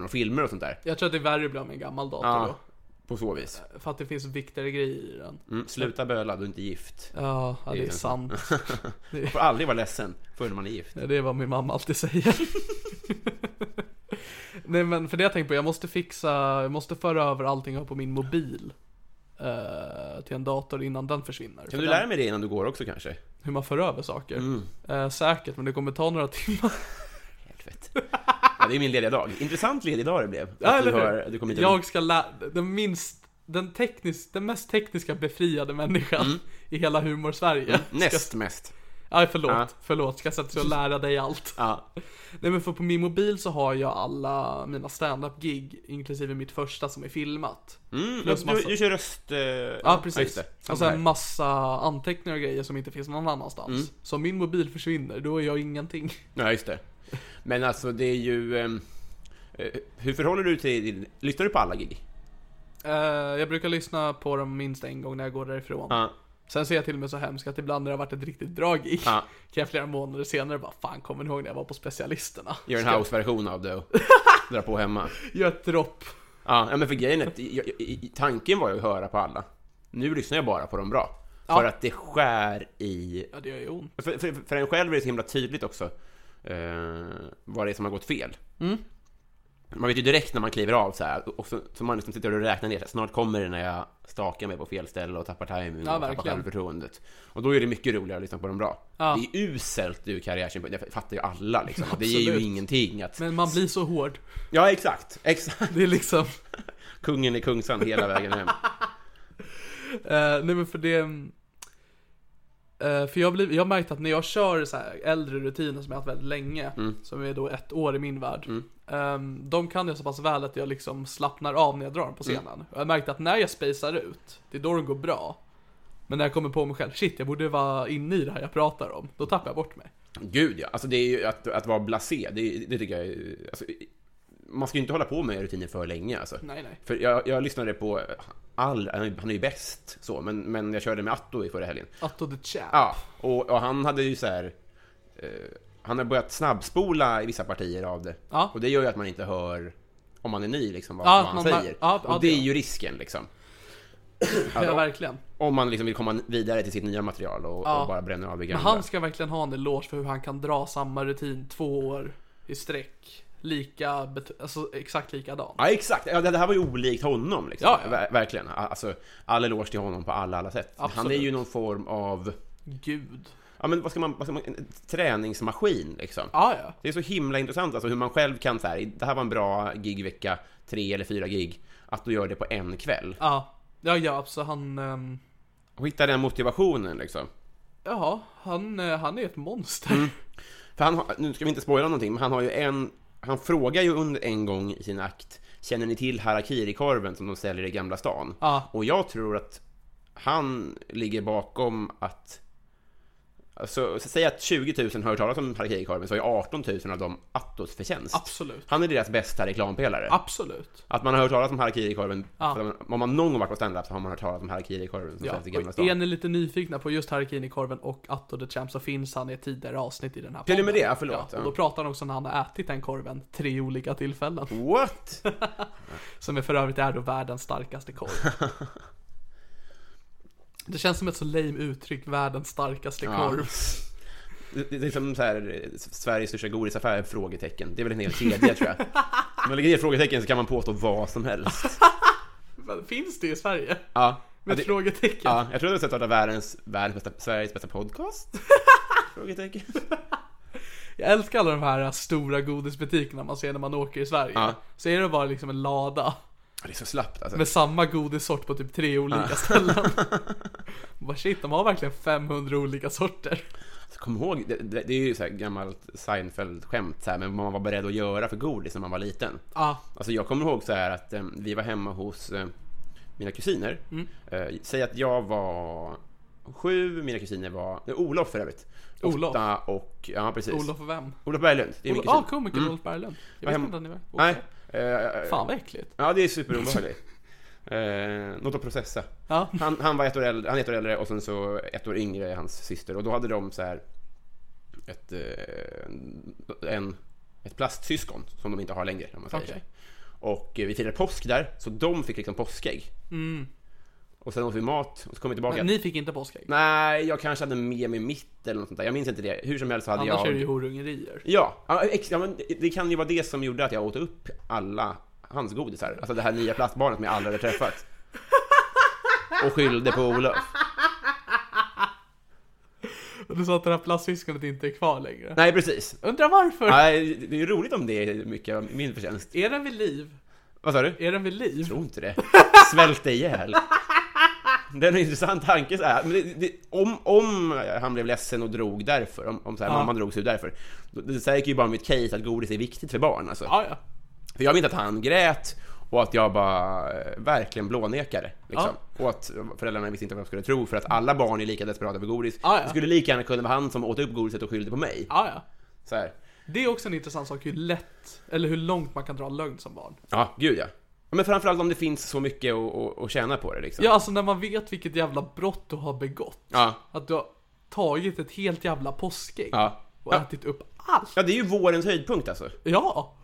[SPEAKER 4] och filmer och sånt där.
[SPEAKER 3] jag tror att det är värre att bli av med en gammal dator
[SPEAKER 4] Ja, på så vis.
[SPEAKER 3] då. För att det finns viktigare grejer i den.
[SPEAKER 4] Mm, sluta böla, du är inte gift.
[SPEAKER 3] Ja, ja det är
[SPEAKER 4] Ja.
[SPEAKER 3] sant.
[SPEAKER 4] Man får aldrig vara ledsen förrän man är gift.
[SPEAKER 3] Ja, Det är vad min mamma alltid säger. Nej men för det jag tänkt på, jag måste fixa, jag måste föra över allting jag har på min mobil. eh, till en dator innan den försvinner. För
[SPEAKER 4] Kan du
[SPEAKER 3] den,
[SPEAKER 4] lära mig det innan du går också kanske?
[SPEAKER 3] hur man för över saker.
[SPEAKER 4] Mm.
[SPEAKER 3] Eh, säkert, men det kommer ta några timmar.
[SPEAKER 4] Helvete. Ja, det är min lediga dag. Intressant lediga dag det blev.
[SPEAKER 3] Ja,
[SPEAKER 4] Att du,
[SPEAKER 3] eller hur?
[SPEAKER 4] har, du kom hit och-
[SPEAKER 3] Jag ska lära, den minst, den tekniskt, den mest tekniska befriade människan i hela humor-Sverige.
[SPEAKER 4] Mm. Näst
[SPEAKER 3] Ska,
[SPEAKER 4] mest.
[SPEAKER 3] aj, förlåt,
[SPEAKER 4] Ja.
[SPEAKER 3] förlåt, ska sätta sig och lära dig allt.
[SPEAKER 4] Ja.
[SPEAKER 3] Nej men för på min mobil så har jag alla mina stand-up-gig, inklusive mitt första som är filmat.
[SPEAKER 4] Mm,
[SPEAKER 3] Plus
[SPEAKER 4] du,
[SPEAKER 3] massa-
[SPEAKER 4] du kör röst... eh,
[SPEAKER 3] Ja,
[SPEAKER 4] just
[SPEAKER 3] precis.
[SPEAKER 4] det. Mm. Samma
[SPEAKER 3] och sen
[SPEAKER 4] här.
[SPEAKER 3] massa anteckningar och grejer som inte finns någon annanstans.
[SPEAKER 4] Mm.
[SPEAKER 3] Så om min mobil försvinner, då är jag ingenting.
[SPEAKER 4] Ja, just det. Men alltså, det är ju... ehm, eh, hur förhåller du till din... Lyssnar du på alla gig?
[SPEAKER 3] Eh, jag brukar lyssna på dem minst en gång när jag går därifrån.
[SPEAKER 4] Ja.
[SPEAKER 3] Sen ser jag till och med så hemskt att ibland när det har varit ett riktigt bra gig,
[SPEAKER 4] Ja.
[SPEAKER 3] kan jag flera månader senare bara Fan, kommer ni ihåg när jag var på specialisterna?
[SPEAKER 4] Gör
[SPEAKER 3] Ska-
[SPEAKER 4] en house-version av det och drar på hemma.
[SPEAKER 3] Gör ett dropp.
[SPEAKER 4] Ja, ja, men för grejen är att jag, jag, i- tanken var ju att höra på alla. Nu lyssnar jag bara på de bra. För
[SPEAKER 3] Ja.
[SPEAKER 4] att det skär i...
[SPEAKER 3] Ja, det gör ju ont.
[SPEAKER 4] För, för, för en själv är det så himla tydligt också eh, vad det är som har gått fel.
[SPEAKER 3] Mm.
[SPEAKER 4] Man vet ju direkt när man kliver av så här, och så, så man liksom sitter och räknar ner, så här, snart kommer det när jag stakar mig på fel ställe och tappar timingen
[SPEAKER 3] Ja,
[SPEAKER 4] och tappar
[SPEAKER 3] verkligen.
[SPEAKER 4] självförtroendet. Och då är det mycket roligare att lyssna på de bra.
[SPEAKER 3] Ja.
[SPEAKER 4] Det är uselt ur karriärsynpunkt, det fattar ju alla liksom. Det ger ju
[SPEAKER 3] Absolut.
[SPEAKER 4] ingenting att...
[SPEAKER 3] Men man blir så hård.
[SPEAKER 4] Ja, exakt! Exakt!
[SPEAKER 3] Det är liksom...
[SPEAKER 4] Kungen i Kungsan hela vägen hem.
[SPEAKER 3] Eh, nej men för det... eh, för jag, blir, jag har märkt att när jag kör så här äldre rutiner som jag har haft väldigt länge,
[SPEAKER 4] Mm.
[SPEAKER 3] som är då ett år i min värld. ehm, de kan jag så pass väl att jag liksom slappnar av när jag drar dem på
[SPEAKER 4] Mm.
[SPEAKER 3] scenen. Och jag har märkt att när jag spacear ut, det är då de går bra. Men när jag kommer på mig själv, shit jag borde vara inne i det här jag pratar om, då tappar jag bort mig.
[SPEAKER 4] Gud ja, alltså det är ju att, att vara blasé, det, det tycker jag är, alltså, Man ska ju inte hålla på med rutiner för länge alltså.
[SPEAKER 3] Nej nej.
[SPEAKER 4] För jag, jag lyssnade på all, han är han är ju bäst så, men, men jag körde med Atto i förra helgen.
[SPEAKER 3] Atto the champ.
[SPEAKER 4] Ja, och, och han hade ju så här. Eh, han har börjat snabbspola i vissa partier av det.
[SPEAKER 3] Ja.
[SPEAKER 4] Och det gör ju att man inte hör, om man är ny liksom, vad,
[SPEAKER 3] Ja,
[SPEAKER 4] vad han
[SPEAKER 3] man bara-
[SPEAKER 4] säger.
[SPEAKER 3] ja, ja,
[SPEAKER 4] och det
[SPEAKER 3] det
[SPEAKER 4] är
[SPEAKER 3] ja.
[SPEAKER 4] ju risken liksom.
[SPEAKER 3] Ja, verkligen.
[SPEAKER 4] Om man liksom vill komma vidare till sitt nya material och,
[SPEAKER 3] Ja.
[SPEAKER 4] och bara bränna av det
[SPEAKER 3] Men
[SPEAKER 4] gamla.
[SPEAKER 3] han ska verkligen ha en eloge för hur han kan dra samma rutin två år i sträck. Lika, bet- alltså exakt likadan.
[SPEAKER 4] Ja, exakt. Ja, det det här var ju olikt honom. Liksom.
[SPEAKER 3] Ja, ja.
[SPEAKER 4] Ver- Verkligen. Alltså, all eloge till honom på alla, alla sätt. Han är
[SPEAKER 3] Absolut.
[SPEAKER 4] ju någon form av...
[SPEAKER 3] Gud.
[SPEAKER 4] Ja, men vad ska man... Vad ska man en träningsmaskin, liksom.
[SPEAKER 3] Ja, ja.
[SPEAKER 4] Det är så himla intressant alltså hur man själv kan så här, det här var en bra gigvecka, tre eller fyra gig, att du gör det på en kväll.
[SPEAKER 3] Ja, ja, ja alltså han... ehm,
[SPEAKER 4] Och hitta den motivationen liksom.
[SPEAKER 3] ja, han, eh, han är ett monster.
[SPEAKER 4] Mm. För han har, nu ska vi inte spoila någonting, men han har ju en, han frågar ju under en gång i sin akt, känner ni till harakirikorven som de säljer i Gamla stan?
[SPEAKER 3] Ja.
[SPEAKER 4] Och jag tror att han ligger bakom att Alltså, så säg att 20 000 har hört talas om harakirikorven så är 18 000 av dem Attos förtjänst.
[SPEAKER 3] Absolut.
[SPEAKER 4] Han är deras bästa reklampelare.
[SPEAKER 3] Absolut.
[SPEAKER 4] Att man har hört talas om harakirikorven.
[SPEAKER 3] Ja.
[SPEAKER 4] För att man- Om man någon gång varit på standup så har man hört talas om harakirikorven som
[SPEAKER 3] Ja.
[SPEAKER 4] säljs i Gamla
[SPEAKER 3] Och är
[SPEAKER 4] stan.
[SPEAKER 3] ni lite nyfikna på just Harakiri-korven och Atto the Champ så finns han i ett tidigare avsnitt i den här
[SPEAKER 4] Till och
[SPEAKER 3] podden.
[SPEAKER 4] med det, ja, förlåt.
[SPEAKER 3] Ja, och då pratar han också när han har ätit den korven tre olika tillfällen.
[SPEAKER 4] Mm. What?
[SPEAKER 3] Som är för övrigt är då världens starkaste korv. Det känns som ett så lame uttryck, världens starkaste korv.
[SPEAKER 4] Det, det är som så här, eh, Sveriges största godisaffär? Frågetecken. Det är väl en hel kedja tror jag. Om man lägger ner frågetecken så kan man påstå vad som helst.
[SPEAKER 3] Men Finns det i Sverige?
[SPEAKER 4] Ja.
[SPEAKER 3] Med
[SPEAKER 4] Ja,
[SPEAKER 3] ett
[SPEAKER 4] det,
[SPEAKER 3] frågetecken.
[SPEAKER 4] ja, jag tror att jag startar världens, världens bästa, Sveriges bästa podcast? Frågetecken.
[SPEAKER 3] Jag älskar alla de här stora godisbutikerna man ser när man åker i Sverige.
[SPEAKER 4] Ja.
[SPEAKER 3] Så är det bara liksom en lada
[SPEAKER 4] Ja, Det är så slappt alltså.
[SPEAKER 3] med samma godissort på typ tre olika ställen. Bara shit, de har verkligen 500 olika sorter.
[SPEAKER 4] Så Kom ihåg, det, det, det är ju så här gammalt Seinfeld-skämt så här, men vad man var beredd att göra för godis när man var liten.
[SPEAKER 3] Ja,
[SPEAKER 4] Alltså jag kommer ihåg så här att eh, vi var hemma hos eh, mina kusiner.
[SPEAKER 3] Mm.
[SPEAKER 4] Eh, säg att jag var sju, mina kusiner var... Nej, Olof för övrigt.
[SPEAKER 3] Olof.
[SPEAKER 4] Åtta och... Ja, precis.
[SPEAKER 3] Olof och vem?
[SPEAKER 4] Olof Berglund. Det är min
[SPEAKER 3] Olof,
[SPEAKER 4] kusin.
[SPEAKER 3] ah, komikern Olof Berglund. Jag
[SPEAKER 4] Vad
[SPEAKER 3] visste inte
[SPEAKER 4] hem-
[SPEAKER 3] att ni var
[SPEAKER 4] Nej.
[SPEAKER 3] Okej.
[SPEAKER 4] eh,
[SPEAKER 3] Fan vad äckligt.
[SPEAKER 4] Ja, det är superobehagligt. Eh, något att processa.
[SPEAKER 3] Ja.
[SPEAKER 4] Han, han var ett år äldre, han är ett år äldre och sen så ett år yngre är hans syster. Och då hade de så här ett, eh, en, ett plastsyskon som de inte har längre. Om man säger
[SPEAKER 3] Okej.
[SPEAKER 4] så. Och eh, vi firade påsk där, så de fick liksom påskägg. Och sen åt vi mat och så kom vi tillbaka.
[SPEAKER 3] Men Mm. Ni fick inte påskägg?
[SPEAKER 4] Nej, jag kanske hade med mig mitt eller något sånt där. Jag minns inte det. Hur som helst så hade
[SPEAKER 3] Annars
[SPEAKER 4] jag...
[SPEAKER 3] är det ju horungerier.
[SPEAKER 4] Ja, ja, ex- ja men det- det kan ju vara det som gjorde att jag åt upp alla hans godisar. Alltså det här nya plastbarnet som jag aldrig hade träffat. Och skyllde på Olof.
[SPEAKER 3] Och du sa att det här plastsyskonet inte är kvar längre.
[SPEAKER 4] Nej, precis.
[SPEAKER 3] Undrar varför?
[SPEAKER 4] Nej, det är ju roligt om det är mycket av min förtjänst.
[SPEAKER 3] Är den vid liv?
[SPEAKER 4] Vad sa du?
[SPEAKER 3] Är den vid liv?
[SPEAKER 4] Jag tror inte det. Svält dig ihjäl. Det är en intressant tanke så här. Men det, det, om, om han blev ledsen och drog därför, om, om så här,
[SPEAKER 3] Ja.
[SPEAKER 4] mamman drog sig därför. då- Det säger ju bara mitt case att godis är viktigt för barn alltså.
[SPEAKER 3] Ja, ja.
[SPEAKER 4] För jag vet att han grät och att jag bara eh, verkligen blånekade. Liksom. Och att föräldrarna visste inte vad de skulle tro för att alla barn är lika desperata över godis.
[SPEAKER 3] Ja, ja.
[SPEAKER 4] Det skulle lika gärna kunna vara han som åt upp godiset och skyllde på mig.
[SPEAKER 3] ja, ja.
[SPEAKER 4] Så här.
[SPEAKER 3] Det är också en intressant sak hur lätt, eller hur långt man kan dra lögn som barn.
[SPEAKER 4] Ja, gud ja. Ja, Men framförallt om det finns så mycket att- att att tjäna på det liksom.
[SPEAKER 3] Ja, alltså när man vet vilket jävla brott du har begått.
[SPEAKER 4] Ja.
[SPEAKER 3] Att du har tagit ett helt jävla påskägg
[SPEAKER 4] Ja.
[SPEAKER 3] och
[SPEAKER 4] Ja.
[SPEAKER 3] ätit upp allt.
[SPEAKER 4] Ja, det är ju vårens höjdpunkt alltså.
[SPEAKER 3] Ja!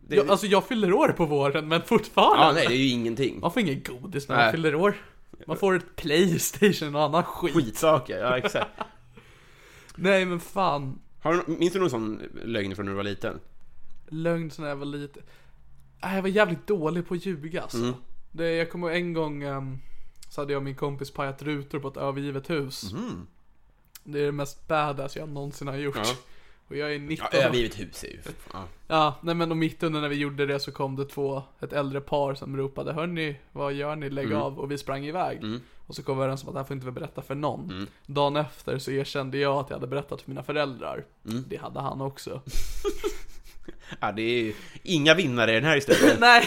[SPEAKER 4] Det,
[SPEAKER 3] Jag, alltså jag fyller år på våren, men fortfarande.
[SPEAKER 4] ja, nej, det är ju ingenting.
[SPEAKER 3] Man får ingen godis när
[SPEAKER 4] Nej.
[SPEAKER 3] man fyller år. Man får ett Playstation och annan skit.
[SPEAKER 4] Skitsaker, ja exakt.
[SPEAKER 3] Nej men fan.
[SPEAKER 4] Har du, minns du någon sån lögn från när du var liten?
[SPEAKER 3] Lögn sån här var lite... Nej, jag var jävligt dålig på att ljuga alltså.
[SPEAKER 4] Mm.
[SPEAKER 3] det, Jag kommer ihåg en gång ehm, så hade jag och min kompis pajat rutor på ett övergivet hus. Det är det mest badass jag någonsin har gjort.
[SPEAKER 4] Mm. Ja.
[SPEAKER 3] Och jag är 19.
[SPEAKER 4] Ja, övergivet hus är ju... Ja.
[SPEAKER 3] Ja, nej men och mitt under när vi gjorde det så kom det två, ett äldre par som ropade Hörni, vad gör ni? Lägg
[SPEAKER 4] Mm.
[SPEAKER 3] av. Och vi sprang iväg. Och så kom vi överens om att det här får inte vi berätta för någon.
[SPEAKER 4] Mm.
[SPEAKER 3] Dagen efter så erkände jag att jag hade berättat för mina föräldrar.
[SPEAKER 4] Mm.
[SPEAKER 3] Det hade han också.
[SPEAKER 4] ja, det är ju inga vinnare i den här historien.
[SPEAKER 3] nej!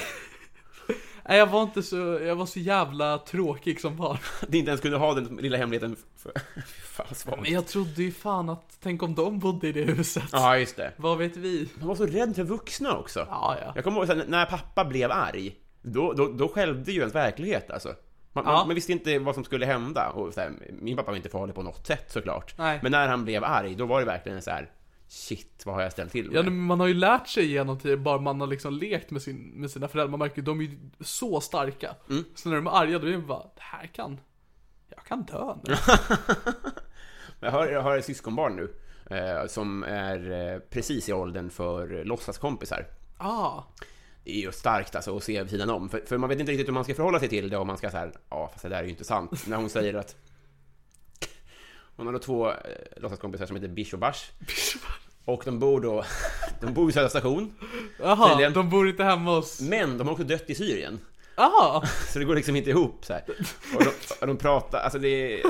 [SPEAKER 3] Nej jag var inte så, jag var så jävla tråkig som barn.
[SPEAKER 4] Att ni inte ens kunde ha den lilla hemligheten. För, för, fan vad svagt.
[SPEAKER 3] Men jag trodde ju fan att, tänk om de bodde i det huset.
[SPEAKER 4] Ja, just det.
[SPEAKER 3] Vad vet vi?
[SPEAKER 4] Man var så rädd för vuxna också.
[SPEAKER 3] Ja, ja.
[SPEAKER 4] Jag kommer ihåg sen, när pappa blev arg, då, då, då skällde ju ens verklighet alltså. Man,
[SPEAKER 3] Ja.
[SPEAKER 4] man, man visste inte vad som skulle hända. Och så här, min pappa var inte farlig på något sätt såklart.
[SPEAKER 3] Nej.
[SPEAKER 4] Men när han blev arg, då var det verkligen så här. Shit, vad har jag ställt till med?
[SPEAKER 3] Ja, men man har ju lärt sig genom tiden, bara man har liksom lekt med, sin, med sina föräldrar, man märker ju, de är ju så starka.
[SPEAKER 4] Mm.
[SPEAKER 3] Så när de är arga, då är det bara, det här kan, jag kan dö nu.
[SPEAKER 4] Jag har, jag har ett syskonbarn nu eh, som är eh, precis i åldern för eh, låtsaskompisar.
[SPEAKER 3] ah,
[SPEAKER 4] Det är ju starkt alltså att se vid sidan om, för, för man vet inte riktigt hur man ska förhålla sig till det om man ska så här, ja fast det där är ju inte sant. När hon säger att hon har då två eh, låtsaskompisar som heter Bish och Bash. Och de bor då, de bor i Södra station,
[SPEAKER 3] jaha,
[SPEAKER 4] Tydligen.
[SPEAKER 3] de bor inte hemma hos,
[SPEAKER 4] men de har också dött i Syrien.
[SPEAKER 3] jaha,
[SPEAKER 4] Så det går liksom inte ihop så här. Och de, och de pratar, alltså det...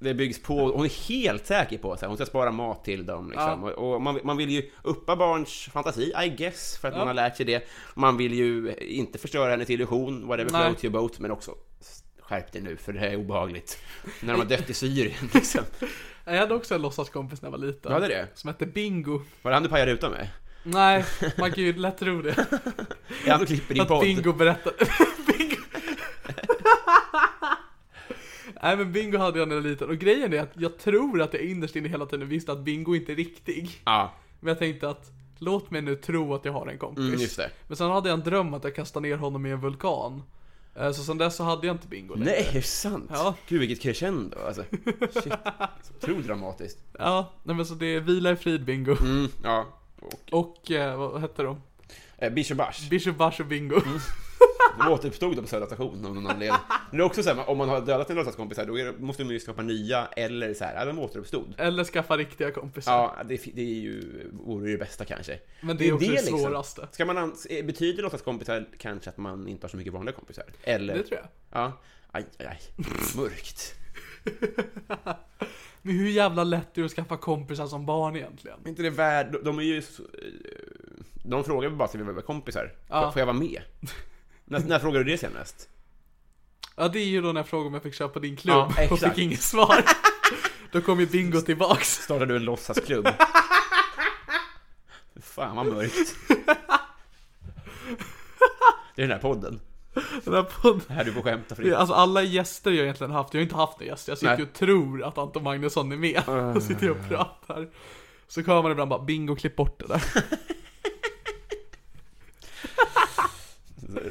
[SPEAKER 4] Det byggs på, hon är helt säker på att så här, hon ska spara mat till dem liksom. Och, och man, man vill ju uppa barns fantasi, I guess, för att man har lärt sig det. Man vill ju inte förstöra hennes illusion, whatever
[SPEAKER 3] Nej.
[SPEAKER 4] floats your boat, men också skärp dig nu för det här är obehagligt. När de har dött i Syrien liksom.
[SPEAKER 3] jag hade också en låtsaskompis när jag var liten.
[SPEAKER 4] Du hade det?
[SPEAKER 3] Som hette Bingo.
[SPEAKER 4] Var det han du pajade rutan med?
[SPEAKER 3] Nej, man kan ju lätt tro det.
[SPEAKER 4] Är han och klipper din
[SPEAKER 3] Att
[SPEAKER 4] podd?
[SPEAKER 3] Bingo berättade. bingo. Nej men Bingo hade jag när jag var liten, och grejen är att jag tror att jag innerst inne hela tiden visste att Bingo inte är riktig.
[SPEAKER 4] Ja,
[SPEAKER 3] Men jag tänkte att låt mig nu tro att jag har en kompis.
[SPEAKER 4] mm, just det.
[SPEAKER 3] Men sen hade jag en dröm att jag kastade ner honom i en vulkan. Eh, Så sen dess så hade jag inte bingo längre.
[SPEAKER 4] Nej, är det sant?
[SPEAKER 3] Ja.
[SPEAKER 4] Gud vilket crescendo alltså. Shit, så otroligt dramatiskt.
[SPEAKER 3] Ja, nej men så det är vila i frid bingo.
[SPEAKER 4] Mm, ja. Och
[SPEAKER 3] Och eh, vad hette de?
[SPEAKER 4] eh, Bish och Bash.
[SPEAKER 3] Bishop Bash och bingo.
[SPEAKER 4] Mm. De återuppstod då på Södra station av någon anledning. Men det är också så här, om man har dödat en låtsaskompis här, då är det, måste man ju skapa nya, eller så här, ja, de återuppstod.
[SPEAKER 3] Eller skaffa riktiga kompisar.
[SPEAKER 4] Ja, det, det är ju, vore ju det bästa kanske.
[SPEAKER 3] Men det är också det, svåraste.
[SPEAKER 4] Liksom. Ska man, ans- eh, betyder låtsaskompisar kanske att man inte har så mycket vanliga kompisar? Eller?
[SPEAKER 3] Det tror jag.
[SPEAKER 4] Ja. Aj, aj, aj. Mörkt.
[SPEAKER 3] Men hur jävla lätt är det att skaffa kompisar som barn egentligen?
[SPEAKER 4] Är inte det värd... de- De är ju... så- eh, De frågar bara om vi vill vara kompisar.
[SPEAKER 3] Ja.
[SPEAKER 4] Får jag vara med? när, när frågade du det senast?
[SPEAKER 3] Ja det är ju då när jag frågade om jag fick köpa din klubb
[SPEAKER 4] Ja,
[SPEAKER 3] och
[SPEAKER 4] exakt.
[SPEAKER 3] fick inget svar. då kom ju bingo tillbaks.
[SPEAKER 4] Startade du en låtsasklubb? Fan vad mörkt. Det är den här podden.
[SPEAKER 3] Den här podden.
[SPEAKER 4] Det här du får
[SPEAKER 3] Det
[SPEAKER 4] skämta
[SPEAKER 3] är
[SPEAKER 4] fritt.
[SPEAKER 3] Alltså alla gäster jag egentligen haft, jag har inte haft några gäster, jag sitter
[SPEAKER 4] Nej. Ah.
[SPEAKER 3] ju och tror att Anton Magnusson är med. Jag sitter jag och pratar. Så kommer man ibland bara, bingo klipp bort det där.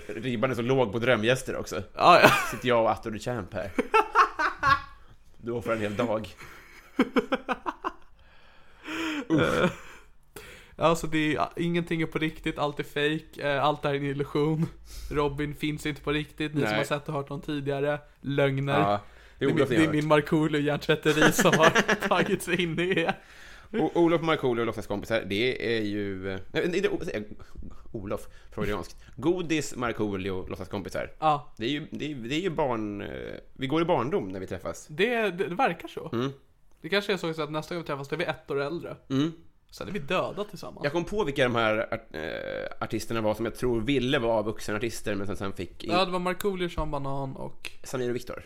[SPEAKER 4] Ribban är så låg på drömgäster också.
[SPEAKER 3] Ja, ja.
[SPEAKER 4] Sitter jag och Atto the Champ här. Du offrar en hel dag.
[SPEAKER 3] Alltså det är, ja, ingenting är på riktigt, allt är fake, eh, allt är en illusion. Robin finns inte på riktigt, ni som
[SPEAKER 4] Nej.
[SPEAKER 3] har sett och hört honom tidigare, lögner.
[SPEAKER 4] Ja. Det
[SPEAKER 3] Det
[SPEAKER 4] är
[SPEAKER 3] är min,
[SPEAKER 4] Olof
[SPEAKER 3] det är
[SPEAKER 4] det
[SPEAKER 3] min Markoolio hjärntvätteri som har tagit sig in i det.
[SPEAKER 4] O- Olof Markoolio och låtsaskompisar, det är ju... eh, Nej, det är, o- säg- Olof, freudianskt. Godis, Markoolio, låtsaskompisar.
[SPEAKER 3] Ja,
[SPEAKER 4] Det är ju, det är, det är ju barn... eh, Vi går i barndom när vi träffas.
[SPEAKER 3] det, det, det verkar så. Det kanske är så också att nästa gång vi träffas då är vi ett år äldre.
[SPEAKER 4] Mm.
[SPEAKER 3] Sen är vi döda tillsammans.
[SPEAKER 4] Jag kom på vilka de här art, eh, artisterna var som jag tror ville vara vuxenartister men sen, sen fick... In,
[SPEAKER 3] Ja, det var Markoolio, Sean Banan och...
[SPEAKER 4] Samir och Viktor.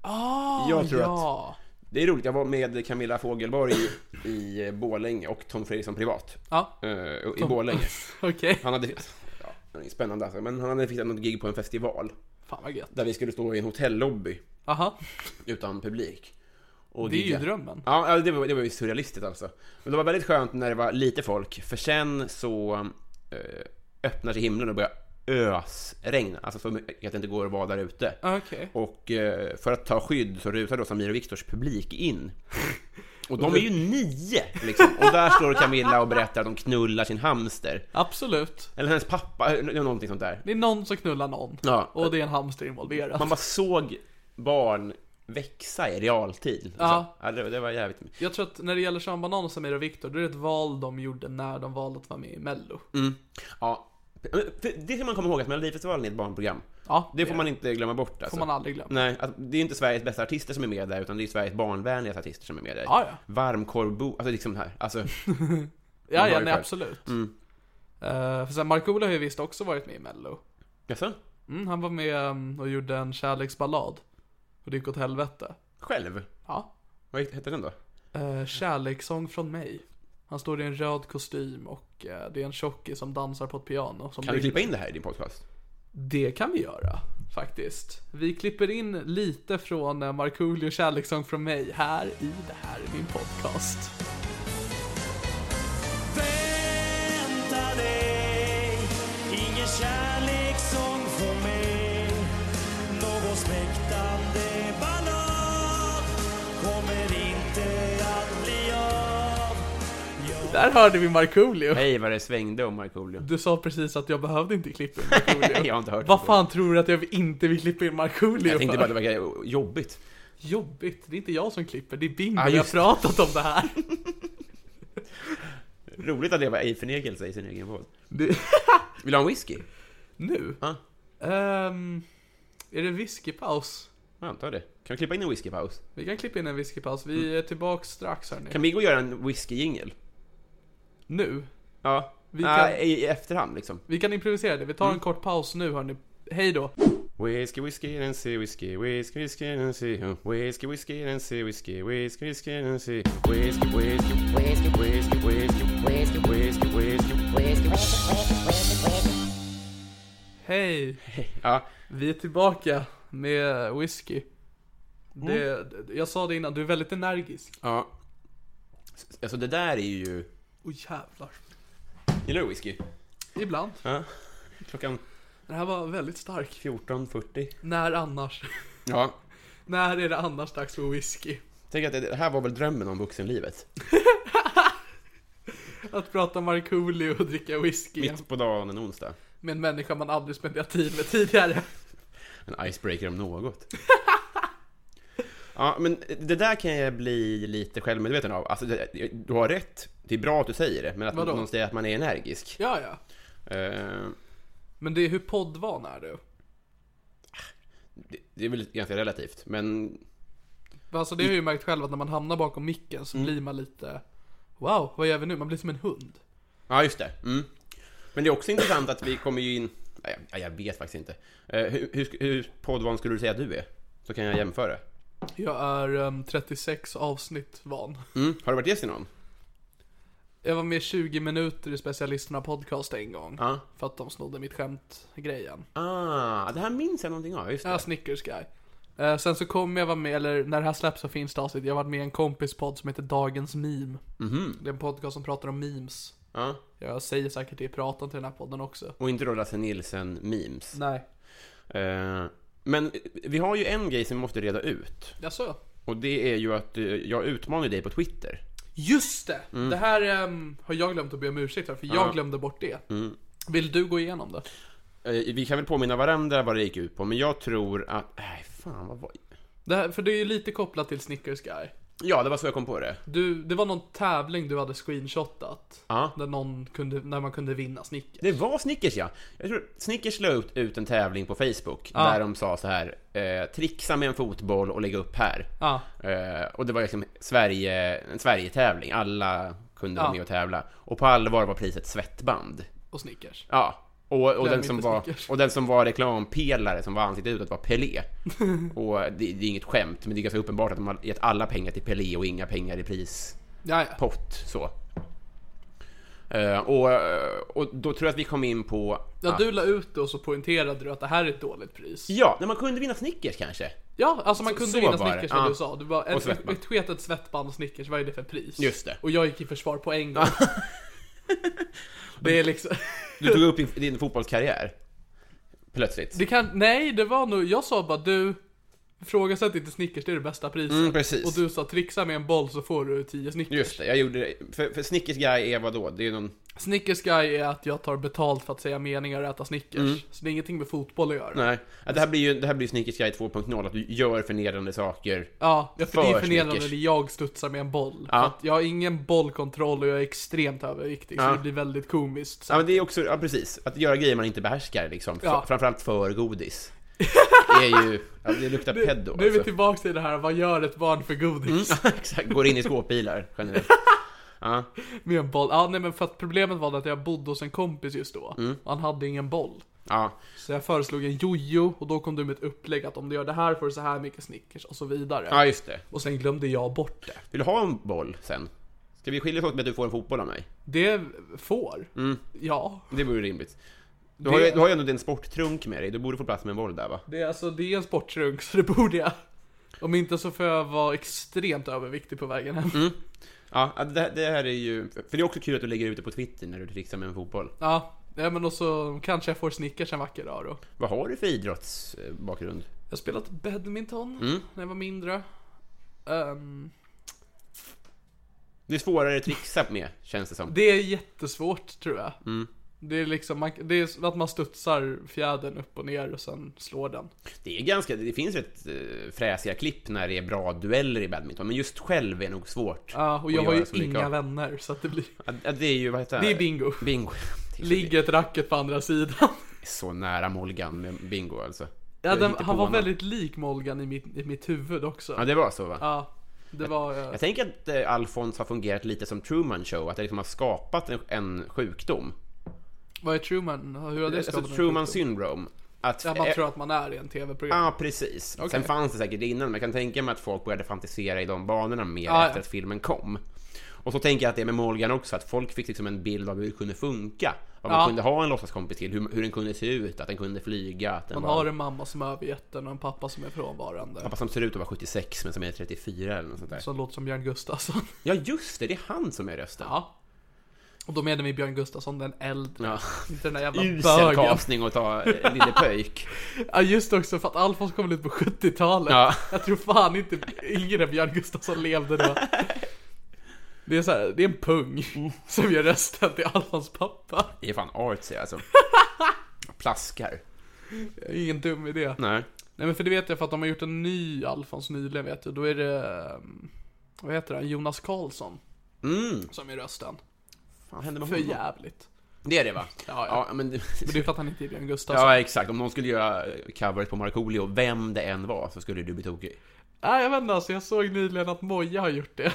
[SPEAKER 3] Ah,
[SPEAKER 4] Jag tror
[SPEAKER 3] ja.
[SPEAKER 4] Det är roligt, jag var med Camilla Fogelborg i, i Borlänge och Tom Fredriksson privat.
[SPEAKER 3] Ja,
[SPEAKER 4] eh, I Borlänge.
[SPEAKER 3] okej.
[SPEAKER 4] Han hade... Ja, det är spännande alltså, men han hade fixat något gig på en festival.
[SPEAKER 3] Fan vad gött.
[SPEAKER 4] Där vi skulle stå i en hotellobby
[SPEAKER 3] Aha,
[SPEAKER 4] utan publik. Och
[SPEAKER 3] det är ju
[SPEAKER 4] gigga.
[SPEAKER 3] drömmen.
[SPEAKER 4] Ja, ja, det var, det var ju surrealistiskt alltså. Men det var väldigt skönt när det var lite folk, för sen så eh, öppnar sig himlen och börjar ösregna. Alltså så mycket att det inte går att vara där ute.
[SPEAKER 3] Ah, Okej.
[SPEAKER 4] Och eh, för att ta skydd så rusar då Samir och Viktors publik in. Och de är ju nio! Liksom. Och där står Camilla och berättar att de knullar sin hamster.
[SPEAKER 3] Absolut.
[SPEAKER 4] Eller hennes pappa, eh, eller någonting sånt där.
[SPEAKER 3] Det är någon som knullar någon.
[SPEAKER 4] Ja.
[SPEAKER 3] Och det är en hamster involverad.
[SPEAKER 4] Man bara såg barn växa i realtid. Liksom.
[SPEAKER 3] Ja.
[SPEAKER 4] ja det, det var jävligt...
[SPEAKER 3] Jag tror att när det gäller Sean Banan och Samir och Viktor, då är det ett val de gjorde när de valde att vara med i Mello.
[SPEAKER 4] Mm. Ja. För det ska man komma ihåg att Melodifestivalen är ett barnprogram.
[SPEAKER 3] Ja,
[SPEAKER 4] Det får man inte glömma bort
[SPEAKER 3] får
[SPEAKER 4] alltså.
[SPEAKER 3] man aldrig glömma.
[SPEAKER 4] Nej, att det är inte Sveriges bästa artister som är med där, utan det är Sveriges barnvänligaste artister som är med där.
[SPEAKER 3] Ja, ja.
[SPEAKER 4] Varmkorvbo, alltså liksom här. Alltså, Man
[SPEAKER 3] Ja, ja,
[SPEAKER 4] hör ju
[SPEAKER 3] nej,
[SPEAKER 4] själv.
[SPEAKER 3] absolut.
[SPEAKER 4] Mm.
[SPEAKER 3] Eh, för sen Markoolio har ju visst också varit med i Mello.
[SPEAKER 4] jaså?
[SPEAKER 3] Mm, han var med um, och gjorde en kärleksballad. Och det gick åt helvete.
[SPEAKER 4] Själv?
[SPEAKER 3] Ja.
[SPEAKER 4] Vad hette den då?
[SPEAKER 3] Eh, kärlekssång från mig. Han står i en röd kostym och eh, det är en tjockis som dansar på ett piano. Som
[SPEAKER 4] Kan du klippa in det här i din podcast?
[SPEAKER 3] Det kan vi göra, faktiskt. Vi klipper in lite från eh, Markoolio kärlekssång från mig här i Det här är min podcast.
[SPEAKER 5] vänta dig Ingen kärlekssång från mig Någon smäktande ballad kommer inte att bli av
[SPEAKER 3] Där hörde vi Markoolio.
[SPEAKER 4] Hej vad det svängde om Markoolio.
[SPEAKER 3] Du sa precis att jag behövde inte klippa in Markoolio.
[SPEAKER 4] Jag har inte hört
[SPEAKER 3] Vad
[SPEAKER 4] det.
[SPEAKER 3] fan tror du att jag inte vill klippa in Markoolio
[SPEAKER 4] Jag tänkte
[SPEAKER 3] för?
[SPEAKER 4] bara att det verkar jobbigt.
[SPEAKER 3] Jobbigt, det är inte jag som klipper, det är Bingo.
[SPEAKER 4] Ah,
[SPEAKER 3] vi har
[SPEAKER 4] just det.
[SPEAKER 3] pratat om det här.
[SPEAKER 4] Roligt att leva i förnekelse i sin egen podd.
[SPEAKER 3] Det-
[SPEAKER 4] Vill du ha en whisky?
[SPEAKER 3] Nu?
[SPEAKER 4] Ja,
[SPEAKER 3] Ehm, är det whiskypaus?
[SPEAKER 4] jag antar det. Kan vi klippa in en whiskypaus?
[SPEAKER 3] Vi kan klippa in en whiskypaus, vi är tillbaks strax hörni.
[SPEAKER 4] Mm. Kan vi gå och göra en whiskyjingel?
[SPEAKER 3] Nu?
[SPEAKER 4] Ja.
[SPEAKER 3] Vi
[SPEAKER 4] Nej,
[SPEAKER 3] kan-
[SPEAKER 4] i, I efterhand liksom.
[SPEAKER 3] Vi kan improvisera det, vi tar
[SPEAKER 4] Mm.
[SPEAKER 3] en kort paus nu hörni. Hej då!
[SPEAKER 4] Whiskey, whiskey, and see whiskey, whiskey, whiskey, and see uh, whiskey, whiskey, and see whiskey, whiskey, whiskey, and see whiskey, whiskey, whiskey, whiskey, whiskey, whiskey, whiskey, whiskey, whiskey.
[SPEAKER 3] Hej!
[SPEAKER 4] Ja,
[SPEAKER 3] Vi är tillbaka med whisky. Det,
[SPEAKER 4] Mm.
[SPEAKER 3] Jag sa det innan, du är väldigt energisk.
[SPEAKER 4] ja. S- Alltså det där är ju...
[SPEAKER 3] Åh jävlar.
[SPEAKER 4] Gillar du whisky?
[SPEAKER 3] Ibland.
[SPEAKER 4] Ja. Klockan
[SPEAKER 3] Den här var väldigt stark.
[SPEAKER 4] 14.40.
[SPEAKER 3] När annars?
[SPEAKER 4] Ja.
[SPEAKER 3] När är det annars dags för whisky?
[SPEAKER 4] Tänk att det- det här var väl drömmen om vuxenlivet?
[SPEAKER 3] Att prata Markoolio och dricka whisky
[SPEAKER 4] Mitt på dagen en onsdag.
[SPEAKER 3] med en människa man aldrig spenderat tid med tidigare.
[SPEAKER 4] En icebreaker om något. Ja, men det där kan jag bli lite självmedveten av. Alltså, det- du har rätt. Det är bra att du säger det, men att
[SPEAKER 3] Vadå?
[SPEAKER 4] någon säger att man är energisk.
[SPEAKER 3] Ja, ja.
[SPEAKER 4] Eh,
[SPEAKER 3] Men det är hur poddvan är du?
[SPEAKER 4] det, det är väl ganska relativt, men
[SPEAKER 3] Alltså det har jag ju märkt själv att när man hamnar bakom micken så blir man lite Wow, vad gör vi nu? Man blir som en hund.
[SPEAKER 4] ja, just det. Mm. Men det är också intressant att vi kommer ju in... Nej, jag, jag vet faktiskt inte. Eh, hur, hur, hur poddvan skulle du säga att du är? Så kan jag jämföra.
[SPEAKER 3] Jag är ehm, 36 avsnitt van.
[SPEAKER 4] Mm. Har du varit gäst i någon?
[SPEAKER 3] Jag var med 20 minuter i specialisterna podcast en gång.
[SPEAKER 4] Ja.
[SPEAKER 3] För att de snodde mitt skämt-grejen.
[SPEAKER 4] Ah, det här minns jag någonting av. Just det.
[SPEAKER 3] Ja, Snickers guy. Eh, sen så kommer jag vara med, eller när det här släpps så finns det avsnitt, jag har varit med i en kompispodd som heter Dagens Meme. Det är en podcast som pratar om memes.
[SPEAKER 4] Ja.
[SPEAKER 3] Jag säger säkert det i pratan till den här podden också.
[SPEAKER 4] Och inte då Lasse Nielsen-memes.
[SPEAKER 3] Nej.
[SPEAKER 4] Eh, men vi har ju en grej som vi måste reda ut.
[SPEAKER 3] Jaså?
[SPEAKER 4] Och det är ju att eh, jag utmanar dig på Twitter.
[SPEAKER 3] Just det! Det här ehm, har jag glömt att be om ursäkt för, för jag glömde bort det. Vill du gå igenom det?
[SPEAKER 4] Eh, vi kan väl påminna varandra vad det gick ut på, men jag tror att... Nej, fan vad var...
[SPEAKER 3] Det här, för det är ju lite kopplat till Snickers Guy.
[SPEAKER 4] Ja, det var så jag kom på det.
[SPEAKER 3] Du, det var någon tävling du hade screenshotat.
[SPEAKER 4] Ja.
[SPEAKER 3] Där, någon kunde, där man kunde vinna Snickers.
[SPEAKER 4] Det var Snickers ja. Jag tror Snickers la ut, ut en tävling på Facebook
[SPEAKER 3] Ja.
[SPEAKER 4] där de sa så här, eh, trixa med en fotboll och lägga upp här.
[SPEAKER 3] Ja.
[SPEAKER 4] Eh, och det var liksom Sverige, en Sverige-tävling, alla kunde
[SPEAKER 3] Ja.
[SPEAKER 4] vara med och tävla. Och på allvar var priset svettband.
[SPEAKER 3] Och Snickers.
[SPEAKER 4] Ja. Och, och,
[SPEAKER 3] Glöm
[SPEAKER 4] den som
[SPEAKER 3] inte
[SPEAKER 4] var,
[SPEAKER 3] Snickers.
[SPEAKER 4] och den som var reklampelare som var ansiktet utåt var Pelé. och det, det är inget skämt, men det är ganska uppenbart att de har gett alla pengar till Pelé och inga pengar i pris
[SPEAKER 3] Ja, ja.
[SPEAKER 4] pott så. Eh, och, och då tror jag att vi kom in på...
[SPEAKER 3] ja,
[SPEAKER 4] att-
[SPEAKER 3] du la ut det och så pointerade du att det här är ett dåligt pris.
[SPEAKER 4] ja när man kunde vinna Snickers kanske.
[SPEAKER 3] Ja, alltså man
[SPEAKER 4] Så-
[SPEAKER 3] kunde
[SPEAKER 4] så
[SPEAKER 3] vinna
[SPEAKER 4] var det.
[SPEAKER 3] Snickers som
[SPEAKER 4] Ja.
[SPEAKER 3] du sa. Du bara, ett,
[SPEAKER 4] svettband.
[SPEAKER 3] ett sketet svettband och Snickers, vad är det för pris?
[SPEAKER 4] Just det.
[SPEAKER 3] Och jag gick i försvar på en gång. det är liksom...
[SPEAKER 4] Du tog upp din, din fotbollskarriär. Plötsligt.
[SPEAKER 3] Det kan, nej, det var nog, jag sa bara du, ifrågasätt inte Snickers, det är det bästa priset.
[SPEAKER 4] Mm, precis.
[SPEAKER 3] Och du sa trixa med en boll så får du 10 Snickers.
[SPEAKER 4] Just det, jag gjorde det. För, för Snickers guy är vad då? Det är ju någon...
[SPEAKER 3] Snickers guy är att jag tar betalt för att säga meningar och äta Snickers. Så det är ingenting med fotboll att göra.
[SPEAKER 4] Mm. Nej. Ja, Det här blir ju det här blir ju Snickers guy 2.0, att du gör förnedrande saker.
[SPEAKER 3] Ja, jag för det är
[SPEAKER 4] För
[SPEAKER 3] förnedrande
[SPEAKER 4] Snickers.
[SPEAKER 3] när jag studsar med en boll.
[SPEAKER 4] Ja.
[SPEAKER 3] För att jag har ingen bollkontroll och jag är extremt överviktig, så
[SPEAKER 4] Ja.
[SPEAKER 3] det blir väldigt komiskt. Så
[SPEAKER 4] Ja, men det är också, ja precis. Att göra grejer man inte behärskar liksom.
[SPEAKER 3] Ja.
[SPEAKER 4] F- Framförallt för godis. Det är ju, ja, det luktar peddo
[SPEAKER 3] Nu är vi
[SPEAKER 4] alltså. Mm.
[SPEAKER 3] tillbaka till det här, vad gör ett barn för godis?
[SPEAKER 4] Ja, Exakt, går in i skåpbilar generellt. Ja.
[SPEAKER 3] Med en boll. Ja, nej men för att problemet var att jag bodde hos en kompis just då. Och han hade ingen boll.
[SPEAKER 4] Ja,
[SPEAKER 3] Så jag föreslog en jojo och då kom du med ett upplägg att om du gör det här får du så här mycket Snickers och så vidare.
[SPEAKER 4] ja just det.
[SPEAKER 3] Och sen glömde jag bort det.
[SPEAKER 4] Vill du ha en boll sen? Ska vi skilja oss åt med att du får en fotboll av mig?
[SPEAKER 3] Det får. Ja.
[SPEAKER 4] Det vore rimligt. Du,
[SPEAKER 3] Det-
[SPEAKER 4] har, ju, du har ju ändå din sporttrunk med dig, du borde få plats med en boll där va?
[SPEAKER 3] Det är alltså, det är en sportrunk så det borde jag. Om inte så får jag vara extremt överviktig på vägen hem.
[SPEAKER 4] Ja, det, här- det här är ju... För det är också kul att du lägger ut det på Twitter när du trixar med en fotboll.
[SPEAKER 3] Ja. ja, men och så kanske jag får Snickers en vacker dag då.
[SPEAKER 4] Vad har du för idrottsbakgrund?
[SPEAKER 3] Jag har spelat badminton
[SPEAKER 4] Mm.
[SPEAKER 3] när jag var mindre. Ehm,
[SPEAKER 4] Det är svårare att trixa med, känns det som.
[SPEAKER 3] Det är jättesvårt tror jag.
[SPEAKER 4] Mm.
[SPEAKER 3] Det är liksom man, det är att man studsar fjädern upp och ner och sen slår den.
[SPEAKER 4] Det är ganska... Det finns rätt eh, fräsiga klipp när det är bra dueller i badminton, men just själv är nog svårt.
[SPEAKER 3] Ja, och
[SPEAKER 4] att
[SPEAKER 3] jag har
[SPEAKER 4] göra
[SPEAKER 3] ju
[SPEAKER 4] så mycket
[SPEAKER 3] inga
[SPEAKER 4] av.
[SPEAKER 3] vänner så att det blir...
[SPEAKER 4] Ja, ja, det är ju... Vad heter
[SPEAKER 3] Det är bingo.
[SPEAKER 4] Bingo. Det är så-
[SPEAKER 3] Ligger ett racket på andra sidan.
[SPEAKER 4] så nära Molgan med bingo alltså.
[SPEAKER 3] Ja,
[SPEAKER 4] Jag
[SPEAKER 3] den,
[SPEAKER 4] hittar på
[SPEAKER 3] han var
[SPEAKER 4] honom.
[SPEAKER 3] väldigt lik Molgan i mitt, i mitt huvud också.
[SPEAKER 4] Ja, det var så va?
[SPEAKER 3] Ja, det var... eh,
[SPEAKER 4] Jag tänker att eh, Alfons har fungerat lite som Truman Show, att det liksom har skapat en, en sjukdom.
[SPEAKER 3] Vad är Truman? Hur har det
[SPEAKER 4] Alltså
[SPEAKER 3] skapat en
[SPEAKER 4] Truman
[SPEAKER 3] sjukdom?
[SPEAKER 4] syndrome. Att,
[SPEAKER 3] Där man
[SPEAKER 4] eh,
[SPEAKER 3] tror att man är i en tv-program.
[SPEAKER 4] Ja, precis. Sen fanns det säkert innan, men jag kan tänka mig att folk började fantisera i de banorna mer
[SPEAKER 3] Ja, ja.
[SPEAKER 4] efter att filmen kom. Och så tänker jag att det är med Morgan också, att folk fick liksom en bild av hur det kunde funka. Vad man
[SPEAKER 3] Ja.
[SPEAKER 4] kunde ha en låtsaskompis till, hur, hur den kunde se ut, att den kunde flyga, att den
[SPEAKER 3] Man
[SPEAKER 4] var...
[SPEAKER 3] har en mamma som är övergeten och en pappa som är frånvarande.
[SPEAKER 4] Pappa som ser ut att vara 76 men som är 34 eller något sånt där.
[SPEAKER 3] Som låter som Björn Gustafsson.
[SPEAKER 4] Ja just det, det är han som är rösten.
[SPEAKER 3] Ja. Och då menar vi Björn Gustafsson den äldre.
[SPEAKER 4] Ja.
[SPEAKER 3] Inte den där jävla
[SPEAKER 4] Usel
[SPEAKER 3] bögen.
[SPEAKER 4] casting att ta eh, Lille Pöjk.
[SPEAKER 3] Ja just också för att Alfons kom väl ut på 70-talet.
[SPEAKER 4] Ja.
[SPEAKER 3] Jag tror fan inte yngre Björn Gustafsson levde då. Det är så här, det är en pung som gör rösten till Alfons pappa.
[SPEAKER 4] Det är fan artsy alltså. Plaskar.
[SPEAKER 3] Ingen dum idé.
[SPEAKER 4] Nej.
[SPEAKER 3] Nej men för det vet jag för att de har gjort en ny Alfons nyligen vet du. Då är det, um, vad heter han, Jonas Karlsson
[SPEAKER 4] Mm.
[SPEAKER 3] som är rösten.
[SPEAKER 4] Fan hände med
[SPEAKER 3] För
[SPEAKER 4] honom?
[SPEAKER 3] jävligt.
[SPEAKER 4] Det är det va?
[SPEAKER 3] Ja, ja.
[SPEAKER 4] ja. men... det-
[SPEAKER 3] Men det är för att han inte är Björn Gustafsson.
[SPEAKER 4] Ja exakt, om någon skulle göra eh, coveret på Markoolio, vem det än var, så skulle du bli tokig.
[SPEAKER 3] Nej jag vet inte alltså, jag såg nyligen att Moja har gjort det.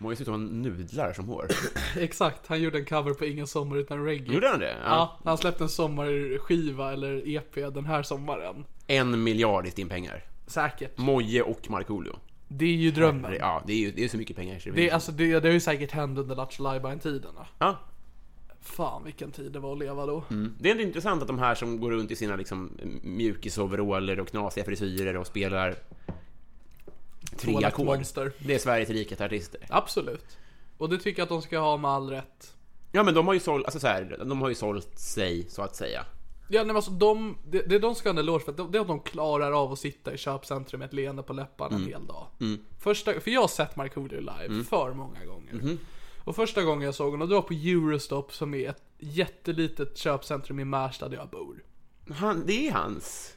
[SPEAKER 4] Mår ju ut som nudlar som hår.
[SPEAKER 3] Exakt, han gjorde en cover på Ingen sommar utan reggae.
[SPEAKER 4] Gjorde han det?
[SPEAKER 3] Ja, han släppte en sommarskiva eller EP den här sommaren.
[SPEAKER 4] En miljard i pengar.
[SPEAKER 3] Säkert.
[SPEAKER 4] Moje och Markoolio.
[SPEAKER 3] Det är ju drömmen.
[SPEAKER 4] Ja, det är ju det är så mycket pengar så det
[SPEAKER 3] Det,
[SPEAKER 4] finns.
[SPEAKER 3] är- alltså, det, det har ju säkert hänt under Lattjo Lajban-tiden. då.
[SPEAKER 4] Ja,
[SPEAKER 3] Fan vilken tid det var att leva då.
[SPEAKER 4] Det är ändå intressant att de här som går runt i sina liksom, mjukisoveraller och knasiga frisyrer och spelar tre
[SPEAKER 3] Toilet
[SPEAKER 4] ackord.
[SPEAKER 3] Monster.
[SPEAKER 4] Det är Sveriges rikaste artister.
[SPEAKER 3] Absolut. Och det tycker jag att de ska ha med all rätt.
[SPEAKER 4] Ja men de har ju sålt, alltså så här, de har ju sålt sig så att säga.
[SPEAKER 3] Ja, nej, men alltså de, det, det de ska ha en eloge för, det är att de klarar av att sitta i köpcentrum med ett leende på läpparna
[SPEAKER 4] Mm.
[SPEAKER 3] en hel dag. Första, för jag har sett Markoolio live för många gånger.
[SPEAKER 4] Mm-hmm.
[SPEAKER 3] Och första gången jag såg honom, det var på Eurostop som är ett jättelitet köpcentrum i Märsta där jag bor.
[SPEAKER 4] Han, det är hans.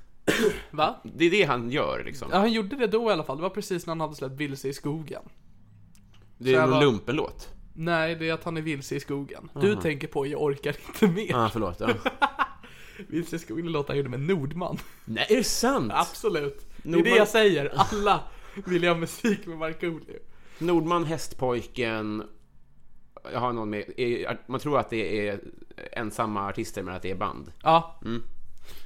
[SPEAKER 3] Va?
[SPEAKER 4] Det är det han gör liksom.
[SPEAKER 3] Ja, han gjorde det då i alla fall. Det var precis när han hade släppt Vilse i skogen.
[SPEAKER 4] det
[SPEAKER 3] så
[SPEAKER 4] är
[SPEAKER 3] här
[SPEAKER 4] någon
[SPEAKER 3] var-
[SPEAKER 4] lumpenlåt.
[SPEAKER 3] Nej, det är att han är vilse i skogen. Du tänker på Jag orkar inte mer.
[SPEAKER 4] Ja, ah, förlåt. Ja.
[SPEAKER 3] Vilse i skogen är en låt han gjorde med Nordman.
[SPEAKER 4] Nej, är det sant?
[SPEAKER 3] Absolut. Det är
[SPEAKER 4] Nordman-
[SPEAKER 3] det jag säger. Alla vill jag ha musik med Markoolio.
[SPEAKER 4] Nordman, Hästpojken. Jag har någon med. är- Man tror att det är ensamma artister, men att det är band.
[SPEAKER 3] Ja.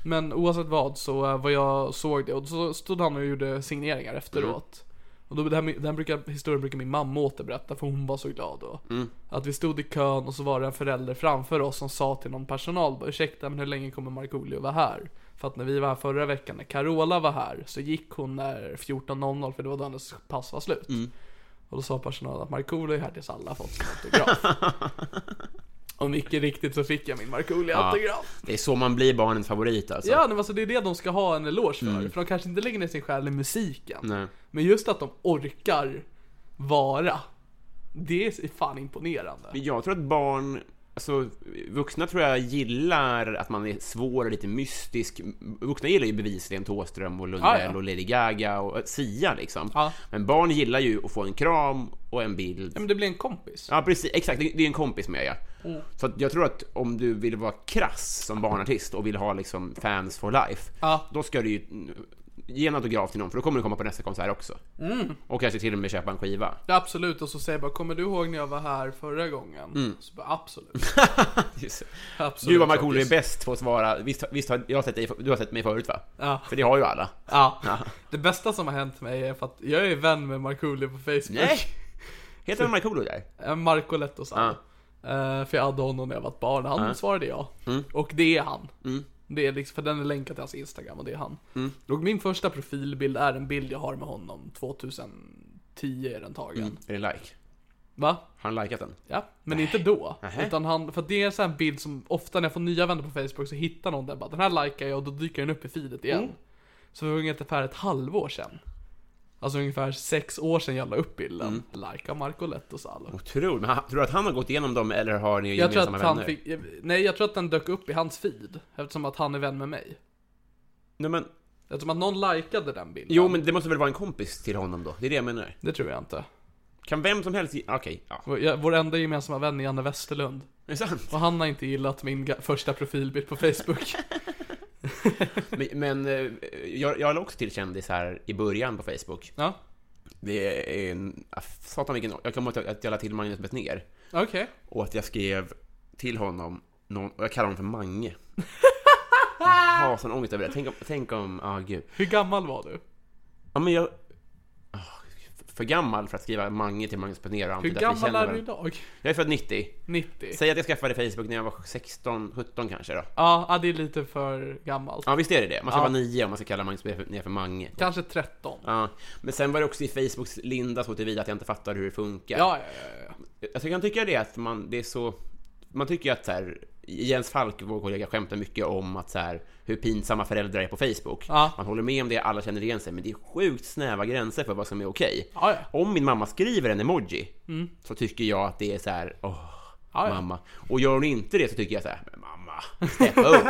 [SPEAKER 3] Men oavsett vad så eh, vad jag såg det och så stod han och gjorde signeringar efteråt. Och då, det här, med- den här brukar, historien brukar min mamma återberätta för hon var så glad då. Att vi stod i kön och så var det en förälder framför oss som sa till någon personal bara, ursäkta men hur länge kommer Markoolio vara här? För att när vi var här förra veckan när Carola var här så gick hon när 14.00 för det var då hennes pass var slut. Och då sa personalen att Markoolio är här tills alla har fått sin autograf. och mycket riktigt så fick jag min Markoolio-autograf.
[SPEAKER 4] Det är så man blir barnens favorit alltså.
[SPEAKER 3] Ja, men alltså det är det de ska ha en eloge för. För de kanske inte lägger ner sin själ i musiken.
[SPEAKER 4] Mm. Nej.
[SPEAKER 3] Men just att de orkar vara. Det är fan imponerande.
[SPEAKER 4] Jag tror att barn, alltså vuxna tror jag gillar att man är svår och lite mystisk. Vuxna gillar ju bevisligen Thåström och Lundell
[SPEAKER 3] Ah, ja.
[SPEAKER 4] och Lady Gaga och Sia liksom.
[SPEAKER 3] Ja.
[SPEAKER 4] Men barn gillar ju att få en kram och en bild.
[SPEAKER 3] Ja, men det blir en kompis.
[SPEAKER 4] Ja, precis. Exakt. Det det är en kompis med ja.
[SPEAKER 3] Mm.
[SPEAKER 4] Så att jag tror att om du vill vara krass som barnartist och vill ha liksom fans for life,
[SPEAKER 3] Ja.
[SPEAKER 4] då ska du ju mm, ge en autograf till någon, för då kommer du komma på nästa konsert också.
[SPEAKER 3] Mm.
[SPEAKER 4] Och kanske till och med köpa en skiva.
[SPEAKER 3] Ja, absolut. Och så säger jag bara, kommer du ihåg när jag var här förra gången? Så bara, absolut.
[SPEAKER 4] Just det.
[SPEAKER 3] absolut.
[SPEAKER 4] Mm. Gud vad Markoolio är bäst på att svara. Visst, visst har jag har sett dig, du har sett mig förut va?
[SPEAKER 3] Ja.
[SPEAKER 4] För det har ju alla.
[SPEAKER 3] Ja. Det bästa som har hänt mig är för att jag är vän med Markoolio på Facebook.
[SPEAKER 4] Nej! Heter han Markoolio där?
[SPEAKER 3] Eh, Marco Lettosand. Eh, för jag hade honom när jag var ett barn. Han svarade ja. Och det är han. Det är liksom, för den är länkad till hans Instagram och det är han. Och min första profilbild är en bild jag har med honom 2010 är den tagen.
[SPEAKER 4] Är det like?
[SPEAKER 3] Va?
[SPEAKER 4] Har han likat den?
[SPEAKER 3] Ja, men inte då.
[SPEAKER 4] Nähä.
[SPEAKER 3] Utan han, för det är en sån här bild som ofta när jag får nya vänner på Facebook så hittar någon den bara den här likar jag och då dyker den upp i feedet igen. Så det var ungefär ett halvår sedan. Alltså ungefär sex år sedan jag la upp bilden. Like av Marco Lettosalo.
[SPEAKER 4] Otroligt. Men han, tror du att han har gått igenom dem eller har ni
[SPEAKER 3] Jag tror
[SPEAKER 4] gemensamma
[SPEAKER 3] att han
[SPEAKER 4] vänner?
[SPEAKER 3] fick, nej jag tror att den dök upp i hans feed, eftersom att han är vän med mig.
[SPEAKER 4] Nej, men,
[SPEAKER 3] Eftersom att någon likade den bilden.
[SPEAKER 4] jo, men det måste väl vara en kompis till honom då? Det är det jag menar.
[SPEAKER 3] Det tror jag inte.
[SPEAKER 4] Kan vem som helst... ge- Okej, ja.
[SPEAKER 3] Vår- jag- Vår enda gemensamma vän är Janne Westerlund.
[SPEAKER 4] Det är sant.
[SPEAKER 3] Och han har inte gillat min ga- första profilbild på Facebook.
[SPEAKER 4] Men, men eh, jag, jag la också till kändisar i början på Facebook.
[SPEAKER 3] ja,
[SPEAKER 4] Det är en... ah, Satan vilken... Jag kommer ihåg att jag la till Magnus Bettner.
[SPEAKER 3] okej.
[SPEAKER 4] Och att jag skrev till honom, någon, och jag kallar honom för Mange. Jag har sån ångest över det. Tänk om, tänk om, ja gud.
[SPEAKER 3] Hur gammal var du?
[SPEAKER 4] Ja men jag... ah, för gammal för att skriva Mange till Magnus Betnér och
[SPEAKER 3] Hur
[SPEAKER 4] antyda att vi
[SPEAKER 3] gammal
[SPEAKER 4] känner
[SPEAKER 3] är du
[SPEAKER 4] varandra.
[SPEAKER 3] idag?
[SPEAKER 4] Jag är född 90.
[SPEAKER 3] 90?
[SPEAKER 4] Säg att jag skaffade Facebook när jag var 16, 17 kanske då.
[SPEAKER 3] Ja, ja, det är lite för gammalt.
[SPEAKER 4] Ja visst är det det? Man ska
[SPEAKER 3] Ja.
[SPEAKER 4] vara 9 om man ska kalla Magnus Betnér för Mange.
[SPEAKER 3] Kanske 13. Ja,
[SPEAKER 4] Ja. Men sen var det också i Facebooks linda så tillvida att jag inte fattar hur det funkar.
[SPEAKER 3] ja, ja. ja.
[SPEAKER 4] Alltså, Jag kan tycka det att man, det är så... Man tycker ju att så här, Jens Falk, vår kollega, skämtar mycket om att så här, hur pinsamma föräldrar är på Facebook.
[SPEAKER 3] Ja.
[SPEAKER 4] Man håller med om det, alla känner igen sig, men det är sjukt snäva gränser för vad som är okej.
[SPEAKER 3] Ja, ja. Mm.
[SPEAKER 4] Om min mamma skriver en emoji, så tycker jag att det är så här, åh,
[SPEAKER 3] Ja, ja.
[SPEAKER 4] mamma. Och gör hon inte det så tycker jag så här, men mamma, steppa upp.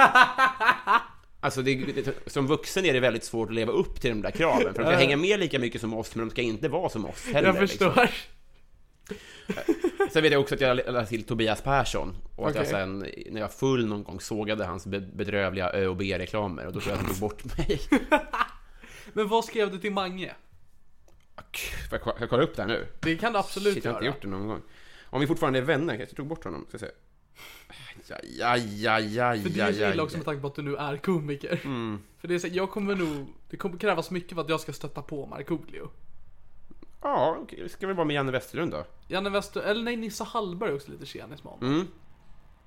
[SPEAKER 4] Alltså det, det, som vuxen är det väldigt svårt att leva upp till de där kraven, för de ska hänga med lika mycket som oss, men de ska inte vara som oss heller.
[SPEAKER 3] Jag
[SPEAKER 4] liksom.
[SPEAKER 3] förstår.
[SPEAKER 4] Sen vet jag också att jag lade till Tobias Persson och att jag
[SPEAKER 3] Okej.
[SPEAKER 4] sen när jag var full någon gång sågade hans be- bedrövliga Ö och B-reklamer och då tror jag att han tog bort mig.
[SPEAKER 3] Men vad skrev du till Mange?
[SPEAKER 4] Fuck, Får jag ko- ska jag kolla upp det här nu?
[SPEAKER 3] Det kan du absolut
[SPEAKER 4] Shit, jag har
[SPEAKER 3] göra.
[SPEAKER 4] inte gjort det någon gång. Om vi fortfarande är vänner, kanske jag tog bort honom. Ska jag se. Aj, aj, aj, aj,
[SPEAKER 3] För det är
[SPEAKER 4] aj,
[SPEAKER 3] så
[SPEAKER 4] aj.
[SPEAKER 3] illa också med tanke på att du nu är komiker. För det är så, jag kommer nog, det kommer krävas mycket för att jag ska stötta på Markoolio.
[SPEAKER 4] Ja, okej, ska vi vara med Janne Westerlund då?
[SPEAKER 3] Janne Wester, eller nej Nisse Hallberg är också lite tjenis med honom.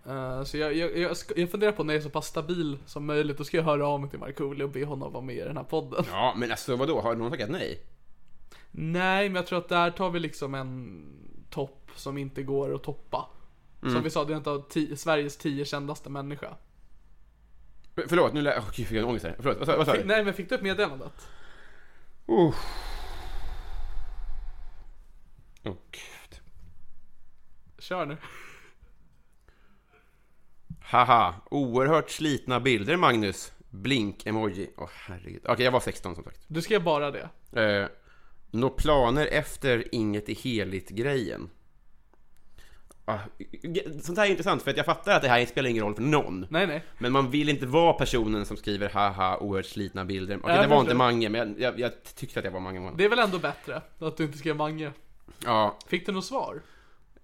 [SPEAKER 3] Eh, så jag, jag, jag, ska, jag funderar på när jag är så pass stabil som möjligt, då ska jag höra av mig till Markoolio och be honom vara med i den här podden.
[SPEAKER 4] Ja, men alltså vadå, har någon tackat nej?
[SPEAKER 3] Nej, men jag tror att där tar vi liksom en topp som inte går att toppa. Som vi sa, det är inte av ti- Sveriges tio kändaste människa.
[SPEAKER 4] F- Förlåt, nu lä- Åh, gud, fick jag ångest här. Förlåt, vad sa- vad sa du?
[SPEAKER 3] Nej, men fick du upp meddelandet?
[SPEAKER 4] Åh, gud.
[SPEAKER 3] Kör nu.
[SPEAKER 4] Haha, oerhört slitna bilder Magnus. Blink-emoji. Åh herregud. Okej, jag var 16 som sagt.
[SPEAKER 3] Du skrev bara det.
[SPEAKER 4] Eh, Nå planer efter inget är heligt-grejen. Ah, sånt här är intressant för att jag fattar att det här spelar ingen roll för någon.
[SPEAKER 3] Nej, nej.
[SPEAKER 4] Men man vill inte vara personen som skriver haha oerhört slitna bilder. Okej,
[SPEAKER 3] Jag
[SPEAKER 4] det var
[SPEAKER 3] förstår.
[SPEAKER 4] inte Mange, men jag, jag, jag tyckte att jag var Mange månad.
[SPEAKER 3] Det är väl ändå bättre att du inte skrev Mange.
[SPEAKER 4] Ja,
[SPEAKER 3] Fick du något svar?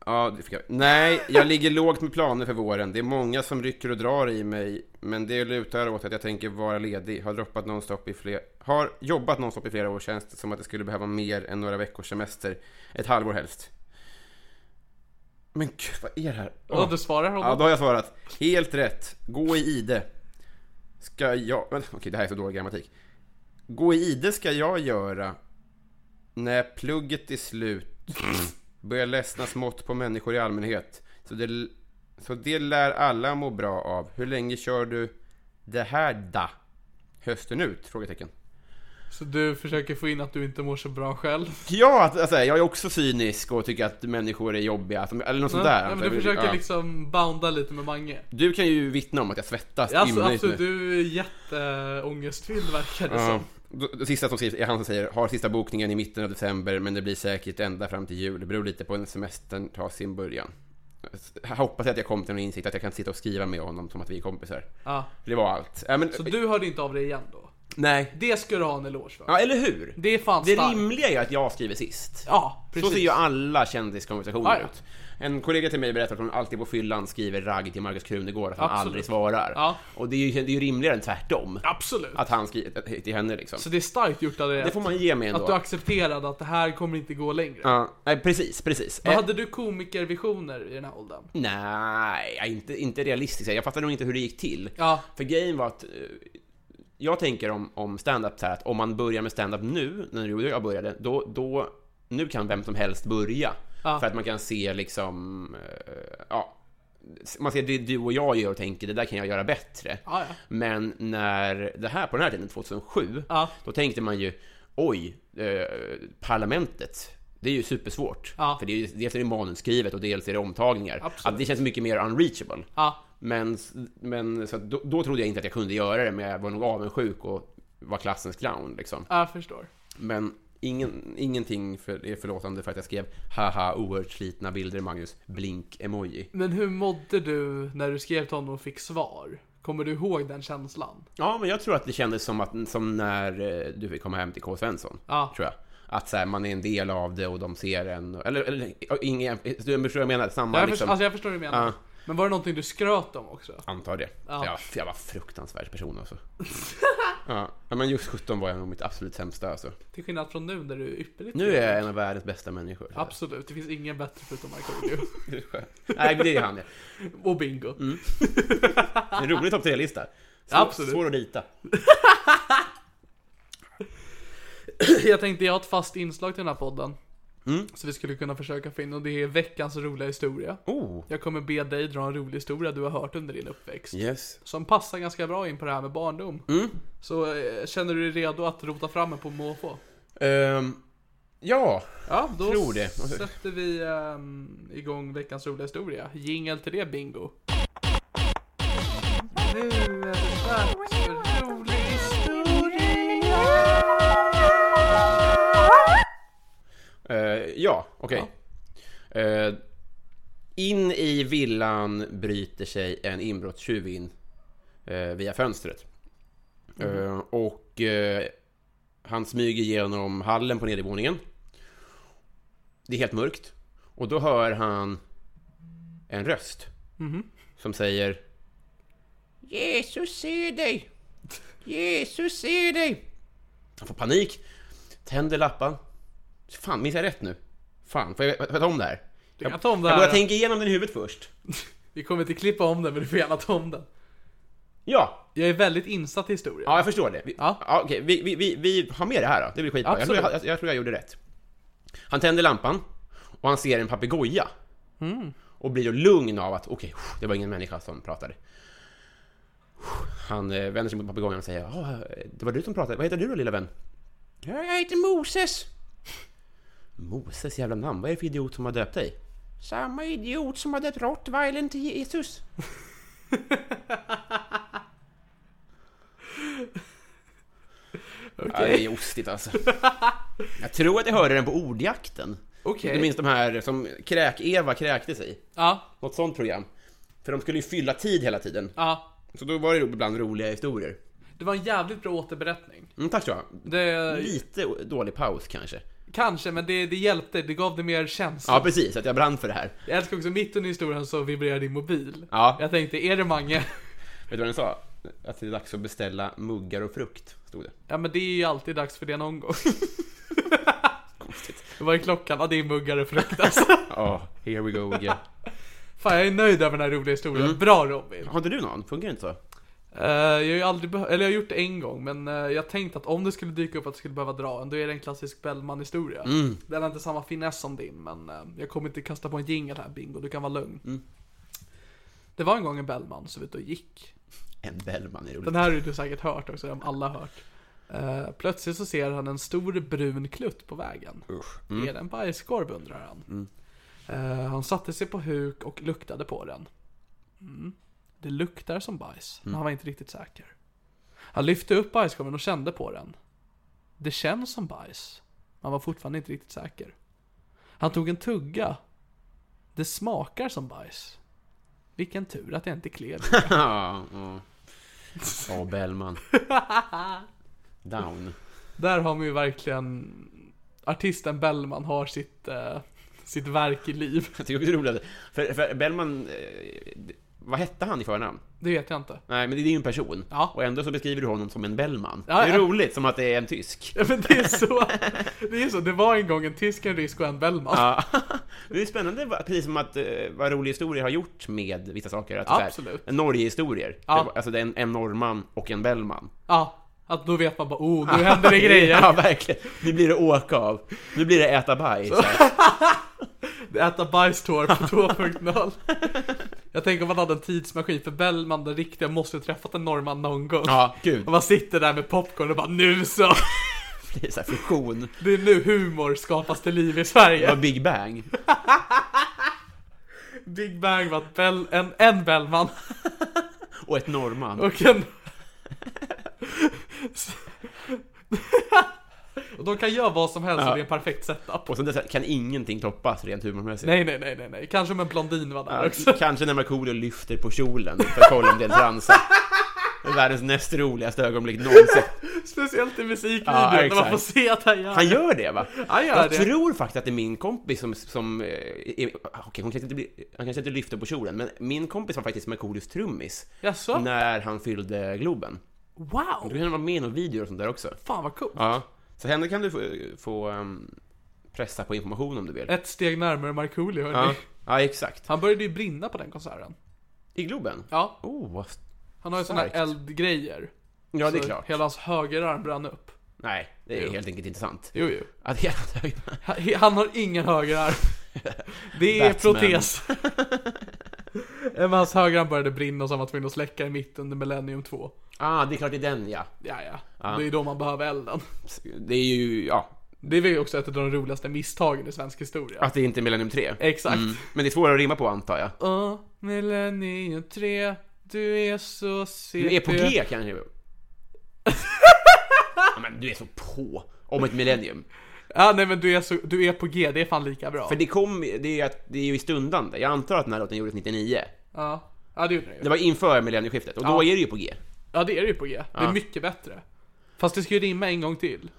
[SPEAKER 4] ja, det fick jag. Nej, jag ligger lågt med planer för våren. Det är många som rycker och drar i mig, men det lutar åt att jag tänker vara ledig. Har droppat nonstop i fler... Har jobbat nonstop i flera år känns det som att jag skulle behöva mer än några veckors semester. Ett halvår helst. Men gud, vad är det här?
[SPEAKER 3] Ja, du svarar honom.
[SPEAKER 4] Ja, då har jag svarat. Helt rätt. Gå i ide. Ska jag... Men, Okej, det här är så dålig grammatik. Gå i ide ska jag göra när plugget är slut. Börjar ledsna smått på människor i allmänhet. Så det, så det lär alla må bra av. Hur länge kör du det här da? Hösten ut? Frågetecken.
[SPEAKER 3] Så du försöker få in att du inte mår så bra själv.
[SPEAKER 4] Ja, att- alltså, jag är också cynisk och tycker att människor är jobbiga. som- Eller något sånt där.
[SPEAKER 3] Nej, men
[SPEAKER 4] Alltså,
[SPEAKER 3] du försöker
[SPEAKER 4] ja.
[SPEAKER 3] liksom bounda lite med Mange.
[SPEAKER 4] Du kan ju vittna om att jag svettas
[SPEAKER 3] Alltså,
[SPEAKER 4] ymnigt nu.
[SPEAKER 3] absolut, du är jätteångestfylld verkar det
[SPEAKER 4] Ja.
[SPEAKER 3] som.
[SPEAKER 4] Då- Det sista som skrivs är han som säger har sista bokningen i mitten av december men det blir säkert ända fram till jul. Det beror lite på när semestern tar sin början. Jag hoppas att jag kom till en insikt att jag kan sitta och skriva med honom som att vi är kompisar.
[SPEAKER 3] Ja.
[SPEAKER 4] Det var allt. Äh, men,
[SPEAKER 3] Så du hörde inte av dig igen då?
[SPEAKER 4] Nej.
[SPEAKER 3] Det ska du ha en eloge för.
[SPEAKER 4] Ja, eller hur?
[SPEAKER 3] Det är fan
[SPEAKER 4] Det
[SPEAKER 3] starkt.
[SPEAKER 4] rimliga är ju att jag skriver sist.
[SPEAKER 3] Ja, precis.
[SPEAKER 4] Så ser ju alla kändiskonversationer
[SPEAKER 3] Ja, ja.
[SPEAKER 4] ut. En kollega till mig berättar att hon alltid på fyllan skriver ragg till Markus Krunegård att han
[SPEAKER 3] Absolut.
[SPEAKER 4] aldrig svarar.
[SPEAKER 3] Ja.
[SPEAKER 4] Och det är, ju, det är ju rimligare än tvärtom.
[SPEAKER 3] Absolut.
[SPEAKER 4] Att han skriver till henne liksom.
[SPEAKER 3] Så det är starkt gjort av dig
[SPEAKER 4] Det får man ge mig ändå.
[SPEAKER 3] Att du accepterade att det här kommer inte gå längre.
[SPEAKER 4] Ja, nej, precis, precis.
[SPEAKER 3] Men
[SPEAKER 4] Eh,
[SPEAKER 3] hade du komikervisioner i den här åldern?
[SPEAKER 4] Nej, inte, inte realistiskt. Jag fattar nog inte hur det gick till.
[SPEAKER 3] Ja.
[SPEAKER 4] För grejen var att eh, jag tänker om, om stand-up så här att om man börjar med stand-up nu, när du och jag började, då, då nu kan vem som helst börja.
[SPEAKER 3] Ja.
[SPEAKER 4] För att man kan se liksom, eh, ja, man ser det du och jag gör och tänker det där kan jag göra bättre.
[SPEAKER 3] Ja, ja.
[SPEAKER 4] Men när det här, på den här tiden, 2007,
[SPEAKER 3] Ja.
[SPEAKER 4] då tänkte man ju oj, eh, parlamentet, det är ju supersvårt.
[SPEAKER 3] Ja.
[SPEAKER 4] För det är, ju- dels är det manusskrivet och dels är det omtagningar.
[SPEAKER 3] Absolut.
[SPEAKER 4] Att det känns mycket mer unreachable.
[SPEAKER 3] Ja.
[SPEAKER 4] Men, men så att då, då trodde jag inte att jag kunde göra det, men jag var nog avundsjuk och var klassens clown liksom.
[SPEAKER 3] Ja, jag förstår.
[SPEAKER 4] Men ingen, ingenting för, är förlåtande för att jag skrev haha oerhört slitna bilder Magnus, blink-emoji.
[SPEAKER 3] Men hur mådde du när du skrev till honom och fick svar? Kommer du ihåg den känslan?
[SPEAKER 4] Ja, men jag tror att det kändes som, att, som när eh, du fick komma hem till K. Svensson.
[SPEAKER 3] Ja.
[SPEAKER 4] Tror jag. Att så här, man är en del av det och de ser en. Eller, eller ja, ingen, du förstår vad jag menar? Samma
[SPEAKER 3] jag,
[SPEAKER 4] liksom.
[SPEAKER 3] förstår, alltså jag förstår hur du menar.
[SPEAKER 4] Ja.
[SPEAKER 3] Men var det någonting du skröt om också?
[SPEAKER 4] Antar det.
[SPEAKER 3] Ja.
[SPEAKER 4] Jag, jag var fruktansvärd person alltså. ja. ja, men just 17 var jag nog mitt absolut sämsta alltså.
[SPEAKER 3] Till skillnad från nu när du är ypperligt
[SPEAKER 4] Nu är jag en av världens bästa människor.
[SPEAKER 3] Absolut, det finns ingen bättre förutom Markoolio.
[SPEAKER 4] Det är skönt. Nej, men det är han ja.
[SPEAKER 3] och bingo.
[SPEAKER 4] Mm. En rolig topp tre-lista. Svår,
[SPEAKER 3] Absolut.
[SPEAKER 4] Svår att rita.
[SPEAKER 3] Jag tänkte jag har ett fast inslag till den här podden.
[SPEAKER 4] Mm.
[SPEAKER 3] Så vi skulle kunna försöka få in och det är veckans roliga historia.
[SPEAKER 4] Oh.
[SPEAKER 3] Jag kommer be dig dra en rolig historia du har hört under din uppväxt.
[SPEAKER 4] Yes.
[SPEAKER 3] Som passar ganska bra in på det här med barndom.
[SPEAKER 4] Mm.
[SPEAKER 3] Så eh, känner du dig redo att rota fram en på måfå?
[SPEAKER 4] Ehm, ja.
[SPEAKER 3] Ja, då
[SPEAKER 4] Tror det.
[SPEAKER 3] sätter vi ehm, igång veckans roliga historia. Jingel till det, bingo. Nu är det dags för rolig historia.
[SPEAKER 4] Eh, ja, okej. Eh, in i villan bryter sig en inbrottstjuv in eh, via fönstret. Eh, och eh, han smyger genom hallen på nedervåningen. Det är helt mörkt. Och då hör han en röst som säger Jesus ser dig! Jesus ser dig! Han får panik, tänder lappan, Fan, minns jag rätt nu? Fan, får jag får jag ta om det här?
[SPEAKER 3] Du kan ta om det
[SPEAKER 4] Jag
[SPEAKER 3] här.
[SPEAKER 4] börjar tänka igenom den i huvudet först.
[SPEAKER 3] Vi kommer inte klippa om den, men du får gärna ta om den.
[SPEAKER 4] Ja,
[SPEAKER 3] Jag är väldigt insatt i historia.
[SPEAKER 4] ja jag förstår det. Vi,
[SPEAKER 3] Ja.
[SPEAKER 4] ja. okej, vi, vi, vi, vi har med det här då. Det blir skitbra. Jag tror jag,
[SPEAKER 3] Absolut.
[SPEAKER 4] jag, jag tror jag gjorde rätt. Han tänder lampan och han ser en papegoja. Och blir då lugn av att okej, det var ingen människa som pratade. Han eh, vänder sig mot papegojan och säger "Ja, det var du som pratade. Vad heter du då lilla vän? "Ja, Jag heter Moses. Moses jävla namn, vad är det för idiot som har döpt dig? Samma idiot som har döpt rottweilern till Jesus.
[SPEAKER 3] ostigt
[SPEAKER 4] Ja,
[SPEAKER 3] ju.
[SPEAKER 4] det är ostigt alltså. Jag tror att jag hörde den på ordjakten.
[SPEAKER 3] Okej.
[SPEAKER 4] Du minns de här som Kräk-Eva kräktes i?
[SPEAKER 3] Ja,
[SPEAKER 4] Något sånt program. För de skulle ju fylla tid hela tiden.
[SPEAKER 3] ja.
[SPEAKER 4] Så då var det ju ibland roliga historier.
[SPEAKER 3] Det var en jävligt bra återberättning.
[SPEAKER 4] Mm, tack så jag.
[SPEAKER 3] Det,
[SPEAKER 4] Lite dålig paus kanske.
[SPEAKER 3] Kanske, men det, det hjälpte. Det gav det mer känsla.
[SPEAKER 4] Ja, precis. Att jag brann för det här.
[SPEAKER 3] Jag älskar också mitt under historien så vibrerar din mobil.
[SPEAKER 4] Ja.
[SPEAKER 3] Jag tänkte, är det Mange?
[SPEAKER 4] Vet du vad den sa? Att det är dags att beställa muggar och frukt, stod det.
[SPEAKER 3] Ja men det är ju alltid dags för det någon gång. Vad är klockan? Ja det är muggar och frukt alltså.
[SPEAKER 4] Ja, here we go again.
[SPEAKER 3] Fan jag är nöjd över den här roliga historien. Bra Robin!
[SPEAKER 4] Har inte du någon? Funkar det inte så?
[SPEAKER 3] Eh, jag har ju aldrig behö- eller jag har gjort det en gång men eh, jag tänkte att om det skulle dyka upp att jag skulle behöva dra en då är det en klassisk Bellman-historia. Den har inte samma finess som din men eh, jag kommer inte kasta på en jingel här Bingo, du kan vara lugn. Det var en gång en Bellman som var ute och gick.
[SPEAKER 4] En Bellman är roligt.
[SPEAKER 3] Den här har ju du säkert hört också, den har alla hört. Eh, plötsligt så ser han en stor brun klutt på vägen. Är det en bajskorv undrar han. Eh, han satte sig på huk och luktade på den. Mm. Det luktar som bajs, men han var inte riktigt säker. Han lyfte upp bajskorven och kände på den. Det känns som bajs, men han var fortfarande inte riktigt säker. Han tog en tugga. Det smakar som bajs. Vilken tur att jag inte klev.
[SPEAKER 4] Ja, ja. Ja, Bellman. Down.
[SPEAKER 3] Där har man ju verkligen Artisten Bellman har sitt, eh, sitt verk i liv
[SPEAKER 4] Jag tycker också det är roligt. att- För, för Bellman... eh, Vad hette han i förnamn?
[SPEAKER 3] Det vet jag inte
[SPEAKER 4] Nej, men det är ju en person.
[SPEAKER 3] Ja.
[SPEAKER 4] Och ändå så beskriver du honom som en Bellman.
[SPEAKER 3] Ja,
[SPEAKER 4] det är
[SPEAKER 3] ja.
[SPEAKER 4] roligt, som att det är en tysk.
[SPEAKER 3] Ja, Men det är så Det är så, det var en gång en tysk, en rysk och en Bellman
[SPEAKER 4] Ja. Det är spännande, va- precis som att eh, vad roliga historier har gjort med vissa saker. Att, så här,
[SPEAKER 3] Absolut.
[SPEAKER 4] Norgehistorier.
[SPEAKER 3] Ja.
[SPEAKER 4] Det var- Alltså det är en, en norrman och en Bellman.
[SPEAKER 3] Ja, att då vet man bara oh, nu händer det grejer
[SPEAKER 4] Ja, verkligen. Nu blir det åka av. Nu blir det äta bajs.
[SPEAKER 3] Äta bajstår på 2.0 Jag tänker om man hade en tidsmaskin för Bellman, den riktiga, måste ju träffat en norrman någon gång
[SPEAKER 4] Ja, gud.
[SPEAKER 3] Och man sitter där med popcorn och bara nu så!
[SPEAKER 4] Det är så här fusion.
[SPEAKER 3] Det är nu humor skapas till liv i Sverige
[SPEAKER 4] Det var Big Bang.
[SPEAKER 3] Big Bang var ett Bell, en, en Bellman
[SPEAKER 4] Och ett norrman.
[SPEAKER 3] Och en... och de kan göra vad som helst och det är en perfekt setup.
[SPEAKER 4] Och sen dess kan ingenting toppas rent humormässigt.
[SPEAKER 3] Nej, nej, nej, nej, nej. Kanske om en blondin var där
[SPEAKER 4] Ja,
[SPEAKER 3] också.
[SPEAKER 4] Kanske när Markoolio lyfter på kjolen för att kolla om det är en transa. Det är Världens näst roligaste ögonblick någonsin.
[SPEAKER 3] Speciellt i musikvideon
[SPEAKER 4] Ja,
[SPEAKER 3] när
[SPEAKER 4] exakt.
[SPEAKER 3] man får se att han gör
[SPEAKER 4] Han gör det va?
[SPEAKER 3] Han gör
[SPEAKER 4] jag
[SPEAKER 3] det.
[SPEAKER 4] tror faktiskt att det är min kompis som... som eh, är, okej, hon kanske inte, blir- han kanske inte lyfter på kjolen, men min kompis var faktiskt Markoolios trummis
[SPEAKER 3] Jaså?
[SPEAKER 4] när han fyllde Globen. Då
[SPEAKER 3] Wow!
[SPEAKER 4] kan han vara med i någon video och sånt där också.
[SPEAKER 3] Fan vad coolt.
[SPEAKER 4] Ja. Så henne kan du få, få ehm, pressa på information om du vill.
[SPEAKER 3] Ett steg närmare Markoolio, hörni.
[SPEAKER 4] Ja, ja exakt.
[SPEAKER 3] Han började ju brinna på den konserten.
[SPEAKER 4] I Globen?
[SPEAKER 3] Ja,
[SPEAKER 4] Oh, vad... st-
[SPEAKER 3] han har ju såna här
[SPEAKER 4] Starkt.
[SPEAKER 3] eldgrejer.
[SPEAKER 4] Ja, det är
[SPEAKER 3] Så
[SPEAKER 4] klart.
[SPEAKER 3] Hela hans högerarm brann upp.
[SPEAKER 4] Nej, det är
[SPEAKER 3] Jo.
[SPEAKER 4] helt enkelt inte sant.
[SPEAKER 3] Jo, jo.
[SPEAKER 4] Att hela högerarmen...
[SPEAKER 3] Han- Han har ingen högerarm. Det är
[SPEAKER 4] Batman.
[SPEAKER 3] protes. Men hans högerarm började brinna och så var man tvungen att släcka i mitten under Millennium 2.
[SPEAKER 4] Ah, det är klart det är den ja.
[SPEAKER 3] Ja, ja. Det är då man behöver elden.
[SPEAKER 4] Det är ju, ja.
[SPEAKER 3] Det är väl också ett av de roligaste misstagen i svensk historia.
[SPEAKER 4] Att det inte är Millennium 3.
[SPEAKER 3] Exakt.
[SPEAKER 4] Men det är svårare att rimma på antar jag.
[SPEAKER 3] Åh, Millennium 3, du är så CP.
[SPEAKER 4] Du är på G kanske? Ja, men du är så på om ett millennium.
[SPEAKER 3] Ja, nej men du är, så, du är på G, det är fan lika bra.
[SPEAKER 4] För det kom, det är, ju att, det är ju i stundande. Jag antar att den här låten gjordes 99.
[SPEAKER 3] Ja. ja, det gjorde den
[SPEAKER 4] Det
[SPEAKER 3] ju.
[SPEAKER 4] var inför millennieskiftet och då är det ju på G.
[SPEAKER 3] Ja, det är det ju på G. Det är mycket bättre. Fast det ska ju rimma en gång till.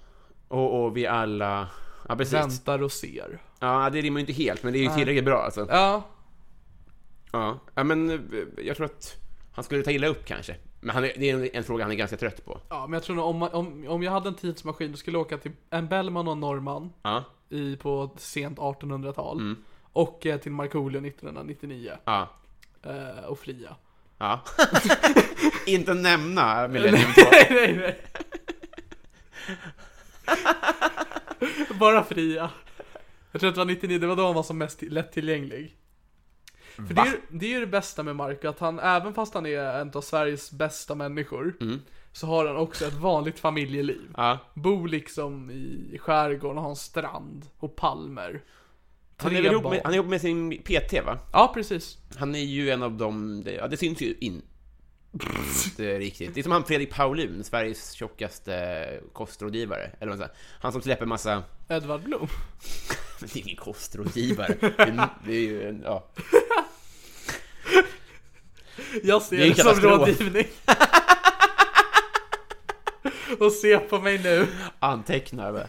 [SPEAKER 4] Och, och vi alla... Ja precis.
[SPEAKER 3] Väntar och ser.
[SPEAKER 4] Ja, det rimmar ju inte helt men det är ju tillräckligt bra alltså.
[SPEAKER 3] Ja,
[SPEAKER 4] Ja. ja, men eh, jag tror att han skulle ta illa upp kanske. Men han, är- det är en, en fråga han är ganska trött på.
[SPEAKER 3] Ja, men jag tror nog om, man- om, om jag hade en tidsmaskin då skulle jag åka till en Bellman och en norrman
[SPEAKER 4] Ja.
[SPEAKER 3] i, på ett sent 1800-tal. Och eh, till Markoolio 1999
[SPEAKER 4] Ja.
[SPEAKER 3] eh, och fria.
[SPEAKER 4] Ja. inte nämna millennium.
[SPEAKER 3] nej, nej, nej. Bara fria. Jag tror att det var 99, det var då han var som mest lättillgänglig.
[SPEAKER 4] Mm.
[SPEAKER 3] För det är, ju- det är ju det bästa med Marco, att han även fast han är en av Sveriges bästa människor, så har han också ett vanligt familjeliv.
[SPEAKER 4] Mm. Ja.
[SPEAKER 3] Bor liksom i skärgården och har en strand och palmer.
[SPEAKER 4] Han är,
[SPEAKER 3] Tre
[SPEAKER 4] väl ihop
[SPEAKER 3] barn.
[SPEAKER 4] med, han är ihop med sin PT va?
[SPEAKER 3] Ja, precis.
[SPEAKER 4] Han är ju en av dem, det, ja, det syns ju in, Inte riktigt. Det är som han Fredrik Paulun, Sveriges tjockaste kostrådgivare. Eller vad man säger. Han som släpper massa...
[SPEAKER 3] Edvard Blom?
[SPEAKER 4] Men det är ingen kostrådgivare. Det är- Det är ju en... Ja.
[SPEAKER 3] Jag
[SPEAKER 4] Det
[SPEAKER 3] ser
[SPEAKER 4] är
[SPEAKER 3] det,
[SPEAKER 4] en
[SPEAKER 3] som
[SPEAKER 4] katastrof.
[SPEAKER 3] rådgivning. Och se på mig nu.
[SPEAKER 4] Antecknar va?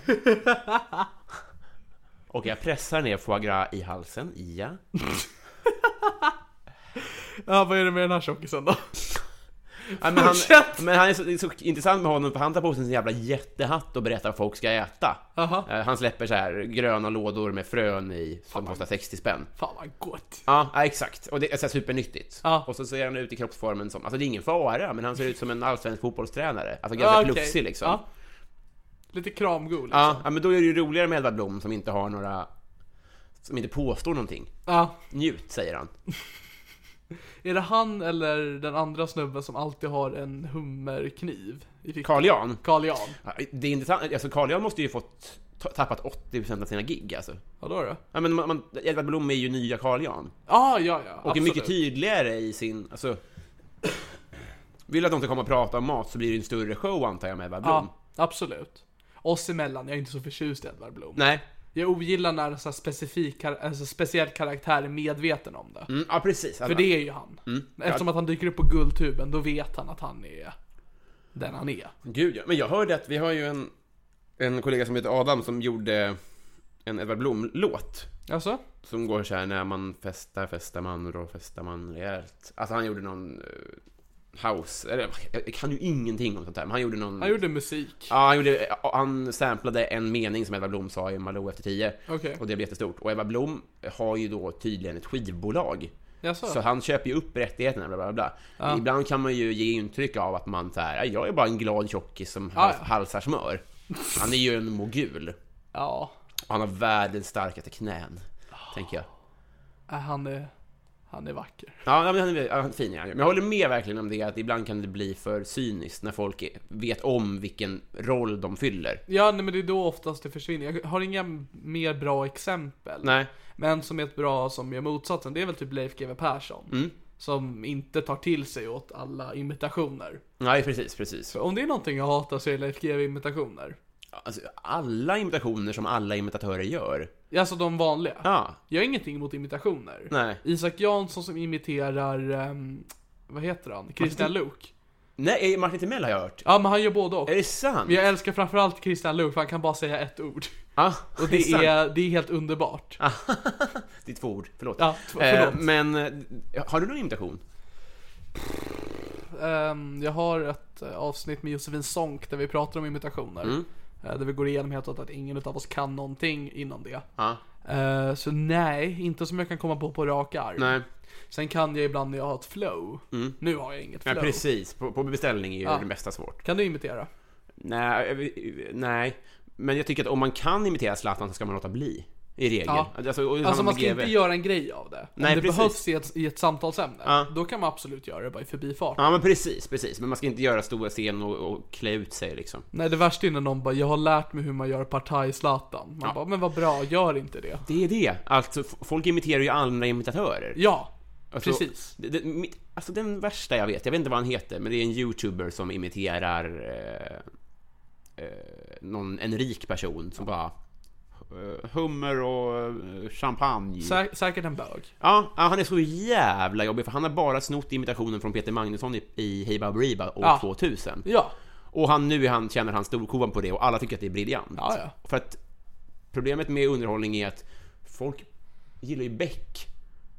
[SPEAKER 4] Och jag pressar ner foie gras i halsen, ja.
[SPEAKER 3] Ja, vad är det med den här tjockisen då?
[SPEAKER 4] Ja, men han,
[SPEAKER 3] Fortsätt!
[SPEAKER 4] men han är så, det är så intressant med honom för han tar på sig en jävla jättehatt och berättar vad folk ska äta.
[SPEAKER 3] Jaha.
[SPEAKER 4] Eh, Han släpper så här gröna lådor med frön i som kostar 60 spänn.
[SPEAKER 3] Fan vad gott.
[SPEAKER 4] Ja, ja, exakt. Och det är så här supernyttigt.
[SPEAKER 3] Ja.
[SPEAKER 4] Och så ser han ut i kroppsformen som, alltså det är ingen fara, men han ser ut som en allsvensk fotbollstränare. Alltså ganska
[SPEAKER 3] okej.
[SPEAKER 4] plufsig liksom.
[SPEAKER 3] Ja.
[SPEAKER 4] Ja.
[SPEAKER 3] Lite kramgod liksom.
[SPEAKER 4] Ja, men då är det ju roligare med Edvard Blom som inte har några, som inte påstår någonting.
[SPEAKER 3] Ja.
[SPEAKER 4] Njut, säger han.
[SPEAKER 3] Är det han eller den andra snubben som alltid har en hummerkniv i fickan?
[SPEAKER 4] Carl Jan.
[SPEAKER 3] Carl Jan.
[SPEAKER 4] Ja, Det är intressant, alltså Carl Jan måste ju fått ta- tappat 80% av sina gig alltså.
[SPEAKER 3] Vadå då?
[SPEAKER 4] Ja, men man, man, Edvard Blom är ju nya Carl Jan.
[SPEAKER 3] Ah, ja, ja.
[SPEAKER 4] Och är mycket tydligare i sin, alltså... Vill att de ska komma och prata om mat så blir det en större show antar jag med Edvard Blom.
[SPEAKER 3] Ja, absolut. Oss emellan, jag är inte så förtjust i Edvard Blom.
[SPEAKER 4] Nej.
[SPEAKER 3] Jag ogillar när en sån här specifik, kar- alltså speciell karaktär är medveten om det.
[SPEAKER 4] Mm, ja, precis.
[SPEAKER 3] För det är ju han.
[SPEAKER 4] Mm.
[SPEAKER 3] Eftersom att han dyker upp på guldtuben, då vet han att han är den han är.
[SPEAKER 4] Gud ja. Men jag hörde att vi har ju en, en kollega som heter Adam som gjorde en Edvard Blom-låt.
[SPEAKER 3] Alltså?
[SPEAKER 4] Som går så här när man festar, festar man och då festar man rejält. Alltså han gjorde någon eh, house, eller jag, jag kan ju ingenting om sånt här, men han gjorde någon...
[SPEAKER 3] Han gjorde musik.
[SPEAKER 4] Ja, han, gjorde, han samplade en mening som Edvard Blom sa i Malou efter tio.
[SPEAKER 3] Okej.
[SPEAKER 4] Och det blev jättestort. Och Edvard Blom har ju då tydligen ett skivbolag.
[SPEAKER 3] Jaså?
[SPEAKER 4] Så han köper ju upp rättigheterna, bla bla bla. Ibland kan man ju ge intryck av att man så här, jag är bara en glad tjockis som
[SPEAKER 3] Ah,
[SPEAKER 4] hals-
[SPEAKER 3] ja.
[SPEAKER 4] halsar smör. Han är ju en mogul.
[SPEAKER 3] Ja.
[SPEAKER 4] Och han har världens starkaste knän, tänker jag.
[SPEAKER 3] Äh, Han är, han är vacker.
[SPEAKER 4] Ja, men han är, han är fin är han ju. Men jag håller med verkligen om det, att ibland kan det bli för cyniskt när folk är- vet om vilken roll de fyller.
[SPEAKER 3] Ja, nej, men det är då oftast det försvinner. Jag har inga mer bra exempel.
[SPEAKER 4] Nej.
[SPEAKER 3] Men som är ett bra som gör motsatsen, det är väl typ Leif GW Persson.
[SPEAKER 4] Mm.
[SPEAKER 3] Som inte tar till sig åt alla imitationer.
[SPEAKER 4] Nej, precis, precis.
[SPEAKER 3] Om det är någonting jag hatar så är Leif GW imitationer.
[SPEAKER 4] Alltså, alla imitationer som alla imitatörer gör.
[SPEAKER 3] Alltså de vanliga.
[SPEAKER 4] Ja,
[SPEAKER 3] Jag har ingenting emot imitationer.
[SPEAKER 4] nej.
[SPEAKER 3] Isak Jansson som imiterar, ehm, vad heter han? Christian Luuk.
[SPEAKER 4] Nej, eh, Martin Timell har jag hört.
[SPEAKER 3] Ja men han gör både och.
[SPEAKER 4] Är det sant?
[SPEAKER 3] Men jag älskar framförallt Christian Luuk för han kan bara säga ett ord.
[SPEAKER 4] Ja,
[SPEAKER 3] Och det är, det är helt underbart.
[SPEAKER 4] Ah. Det är två ord, förlåt.
[SPEAKER 3] Ja, t- förlåt.
[SPEAKER 4] Eh, men, eh, har du någon imitation?
[SPEAKER 3] Ehm, jag har ett eh, avsnitt med Josefin Sonck där vi pratar om imitationer.
[SPEAKER 4] Mm.
[SPEAKER 3] Eh, där vi går igenom helt och hållet att ingen av oss kan någonting inom det.
[SPEAKER 4] Ja.
[SPEAKER 3] Eh, så nej, inte som jag kan komma på på rak arm.
[SPEAKER 4] Nej. Mm.
[SPEAKER 3] Sen kan jag ibland när jag har ett flow. Nu har jag inget
[SPEAKER 4] Ja,
[SPEAKER 3] flow.
[SPEAKER 4] precis. På, på beställning är ju
[SPEAKER 3] Ja.
[SPEAKER 4] det mesta svårt.
[SPEAKER 3] Kan du imitera?
[SPEAKER 4] Nej, eh, nej. Men jag tycker att om man kan imitera Zlatan så ska man låta bli. I regel.
[SPEAKER 3] Ja.
[SPEAKER 4] Alltså, och-
[SPEAKER 3] Alltså
[SPEAKER 4] han
[SPEAKER 3] man
[SPEAKER 4] med
[SPEAKER 3] ska
[SPEAKER 4] GV.
[SPEAKER 3] inte göra en grej av det.
[SPEAKER 4] Nej,
[SPEAKER 3] Om det
[SPEAKER 4] precis.
[SPEAKER 3] behövs i ett, i ett samtalsämne,
[SPEAKER 4] Ja.
[SPEAKER 3] då kan man absolut göra det bara i förbifart.
[SPEAKER 4] Ja, men precis, precis. Men man ska inte göra stora scen och, och klä ut sig liksom.
[SPEAKER 3] Nej, det värsta är när någon bara 'Jag har lärt mig hur man gör partaj Zlatan' Man
[SPEAKER 4] Ja.
[SPEAKER 3] bara 'Men vad bra, gör inte det'
[SPEAKER 4] Det är det. Alltså, f- folk imiterar ju andra imitatörer.
[SPEAKER 3] Ja,
[SPEAKER 4] Alltså,
[SPEAKER 3] precis.
[SPEAKER 4] Det, det, mitt, alltså den värsta jag vet, jag vet inte vad han heter, men det är en youtuber som imiterar eh, eh, någon, en rik person som bara eh, Hummer och eh, champagne.
[SPEAKER 3] Sä- säkert en bög.
[SPEAKER 4] Ja, ja, han är så jävla jobbig för han har bara snott imitationen från Peter Magnusson i, i Hey Baberiba år
[SPEAKER 3] Ja.
[SPEAKER 4] 2000.
[SPEAKER 3] Ja.
[SPEAKER 4] Och han, nu är han, känner han storkovan på det och alla tycker att det är briljant.
[SPEAKER 3] Ja, ja.
[SPEAKER 4] För att problemet med underhållning är att folk gillar ju Beck.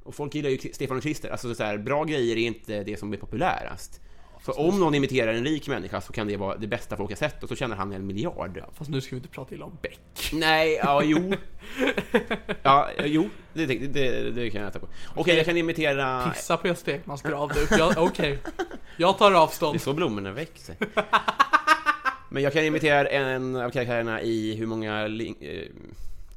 [SPEAKER 4] Och folk gillar ju Stefan och Krister. Alltså så här, bra grejer är inte det som är populärast. För om någon imiterar en rik människa så kan det vara det bästa folk har sett och så tjänar han en miljard.
[SPEAKER 3] Fast nu ska vi inte prata illa om Beck.
[SPEAKER 4] Nej, ja, jo. ja, jo, det, det, det, det kan jag äta på. Okej, jag kan imitera...
[SPEAKER 3] Pissa på Gösta Ekmans grav du. Jag- Okej. Jag tar
[SPEAKER 4] Det är
[SPEAKER 3] avstånd.
[SPEAKER 4] så blommorna växer. Men jag kan imitera en av karaktärerna i hur många ling, eh,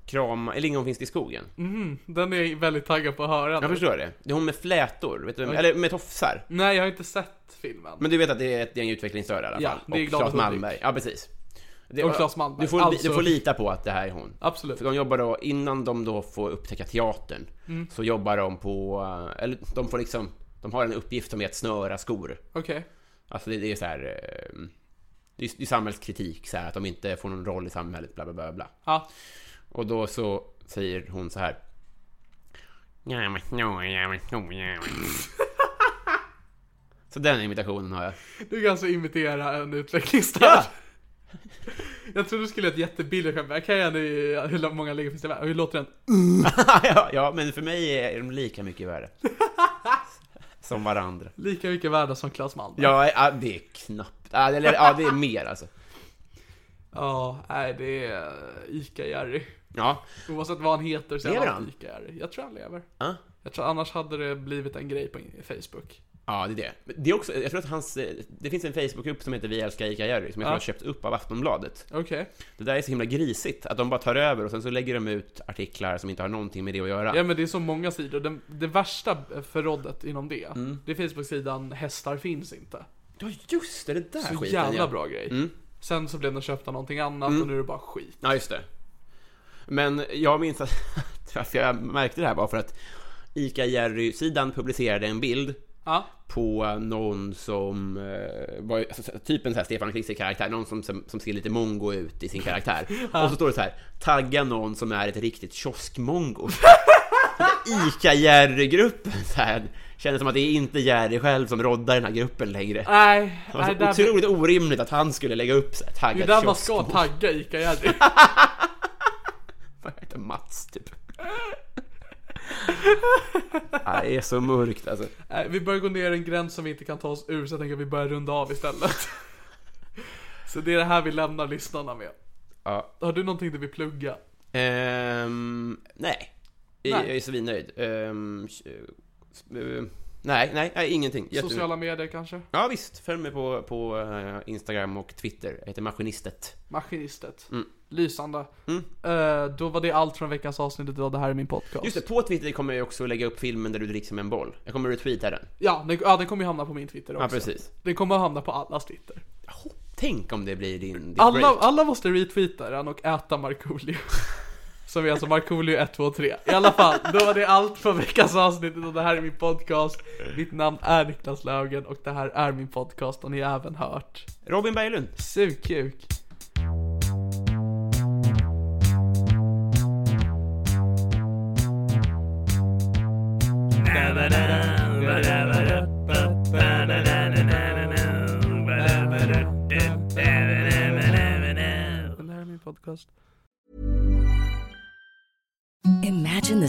[SPEAKER 4] kram, eh, lingon finns det i skogen.
[SPEAKER 3] Mm. Den är jag väldigt taggad på att höra. nu.
[SPEAKER 4] Jag förstår det. Det är hon med flätor, vet du, vem- eller med tofsar.
[SPEAKER 3] Nej, jag har inte sett filmen.
[SPEAKER 4] Men du vet att det är ett gäng utvecklingsstörda i alla
[SPEAKER 3] Ja,
[SPEAKER 4] fall.
[SPEAKER 3] det är
[SPEAKER 4] och
[SPEAKER 3] Glada
[SPEAKER 4] Claes
[SPEAKER 3] Hudik.
[SPEAKER 4] Malmberg. Ja, precis. Det-
[SPEAKER 3] Och Claes Malmberg,
[SPEAKER 4] Du får,
[SPEAKER 3] alltså.
[SPEAKER 4] du får lita på att det här är hon.
[SPEAKER 3] Absolut.
[SPEAKER 4] För de jobbar då,
[SPEAKER 3] Mm.
[SPEAKER 4] innan de då får upptäcka teatern, så jobbar de på, eh, eller de får liksom De har en uppgift som är att snöra skor.
[SPEAKER 3] Okej.
[SPEAKER 4] Alltså det, det är så här... eh, Det är, det är samhällskritik, så här, att de inte får någon roll i samhället, bla bla bla. bla.
[SPEAKER 3] Ja.
[SPEAKER 4] Och då så säger hon så här. Så den imitationen har jag.
[SPEAKER 3] Du kan alltså imitera en utvecklingsstörd. Jag trodde du skulle göra ett jättebilligt skämt, men jag kan ju ändå hur många lägen finns det i världen? Hur låter den?
[SPEAKER 4] ja, ja, men för mig är de lika mycket värre. Som varandra.
[SPEAKER 3] Lika mycket värda som Claes Malmberg.
[SPEAKER 4] Ja, ja, det är knappt. Ja, Eller ja, det är mer alltså.
[SPEAKER 3] Ja, nej det är Ica-Jerry.
[SPEAKER 4] Ja.
[SPEAKER 3] Oavsett vad han heter så är
[SPEAKER 4] Lever
[SPEAKER 3] han
[SPEAKER 4] han?
[SPEAKER 3] alltid Ica-Jerry. Jag tror han lever.
[SPEAKER 4] Ja.
[SPEAKER 3] Jag tror annars hade det blivit en grej på Facebook.
[SPEAKER 4] Ja, det är det. Men Det, är också, jag tror att hans, eh, det finns en Facebookgrupp som heter Vi älskar Ica Jerry, som jag tror
[SPEAKER 3] Ja.
[SPEAKER 4] har köpt upp av Aftonbladet.
[SPEAKER 3] Okej.
[SPEAKER 4] Det där är så himla grisigt, att de bara tar över och sen så lägger de ut artiklar som inte har någonting med det att göra.
[SPEAKER 3] Ja men det är så många sidor. Den, det värsta förrådet inom det,
[SPEAKER 4] Mm.
[SPEAKER 3] det är Facebook-sidan Hästar finns inte.
[SPEAKER 4] Ja, just det, det där
[SPEAKER 3] Så
[SPEAKER 4] skiten
[SPEAKER 3] jävla
[SPEAKER 4] ja.
[SPEAKER 3] bra grej.
[SPEAKER 4] Mm.
[SPEAKER 3] Sen så blev den köpt av någonting annat och nu är det bara skit.
[SPEAKER 4] Ja, just det. Men jag minns att, att jag märkte det här bara för att Ica Jerry-sidan publicerade en bild
[SPEAKER 3] Ja,
[SPEAKER 4] på någon som eh, var alltså, typ en så här Stefan Krister-karaktär, någon som, som, som ser lite mongo ut i sin karaktär. Och så står det så här, tagga någon som är ett riktigt kioskmongo. Ica-Jerry-gruppen så här, känner som att det är inte Jerry själv som roddar den här gruppen längre.
[SPEAKER 3] nej,
[SPEAKER 4] Det var
[SPEAKER 3] nej
[SPEAKER 4] så
[SPEAKER 3] där,
[SPEAKER 4] otroligt orimligt att han skulle lägga upp så här,
[SPEAKER 3] det är
[SPEAKER 4] tagga
[SPEAKER 3] där
[SPEAKER 4] ett
[SPEAKER 3] man ska
[SPEAKER 4] kioskmongo.
[SPEAKER 3] tagga Ica-Jerry.
[SPEAKER 4] Vad heter Mats typ? Nej, det är så mörkt alltså.
[SPEAKER 3] Nej, vi börjar gå ner en gräns som vi inte kan ta oss ur så jag tänker att vi börjar runda av istället. så det är det här vi lämnar lyssnarna med.
[SPEAKER 4] Ja.
[SPEAKER 3] Har du någonting du vill plugga?
[SPEAKER 4] Ehm, nej. Jag-
[SPEAKER 3] Nej.
[SPEAKER 4] Jag är svinnöjd. Ehm, eh, eh, nej, nej, nej, ingenting. Jättenöjd.
[SPEAKER 3] Sociala medier kanske?
[SPEAKER 4] Ja visst, följ mig på, på eh, Instagram och Twitter. Jag heter Maskinistet.
[SPEAKER 3] Maskinistet?
[SPEAKER 4] Mm.
[SPEAKER 3] Lysande.
[SPEAKER 4] Mm.
[SPEAKER 3] Eh, då var det allt från veckans avsnitt av Det här är min podcast.
[SPEAKER 4] Just det, på Twitter kommer jag också lägga upp filmen där du dricks som en boll. Jag kommer retweeta den.
[SPEAKER 3] Ja, den, ja, den kommer ju hamna på min Twitter också.
[SPEAKER 4] Ja, precis.
[SPEAKER 3] Den kommer hamna på allas Twitter.
[SPEAKER 4] Hopp, tänk om det blir din, ditt
[SPEAKER 3] Alla,
[SPEAKER 4] break.
[SPEAKER 3] alla måste retweeta den och äta Markoolio. Som är alltså Markoolio 1, 2, 3. I alla fall, då var det allt från veckans avsnitt och det här är min podcast. Mitt namn är Niklas Löfgren och det här är min podcast och ni har även hört
[SPEAKER 4] Robin Berglund.
[SPEAKER 3] Sugkuk. Det här är min podcast.
[SPEAKER 6] Imagine the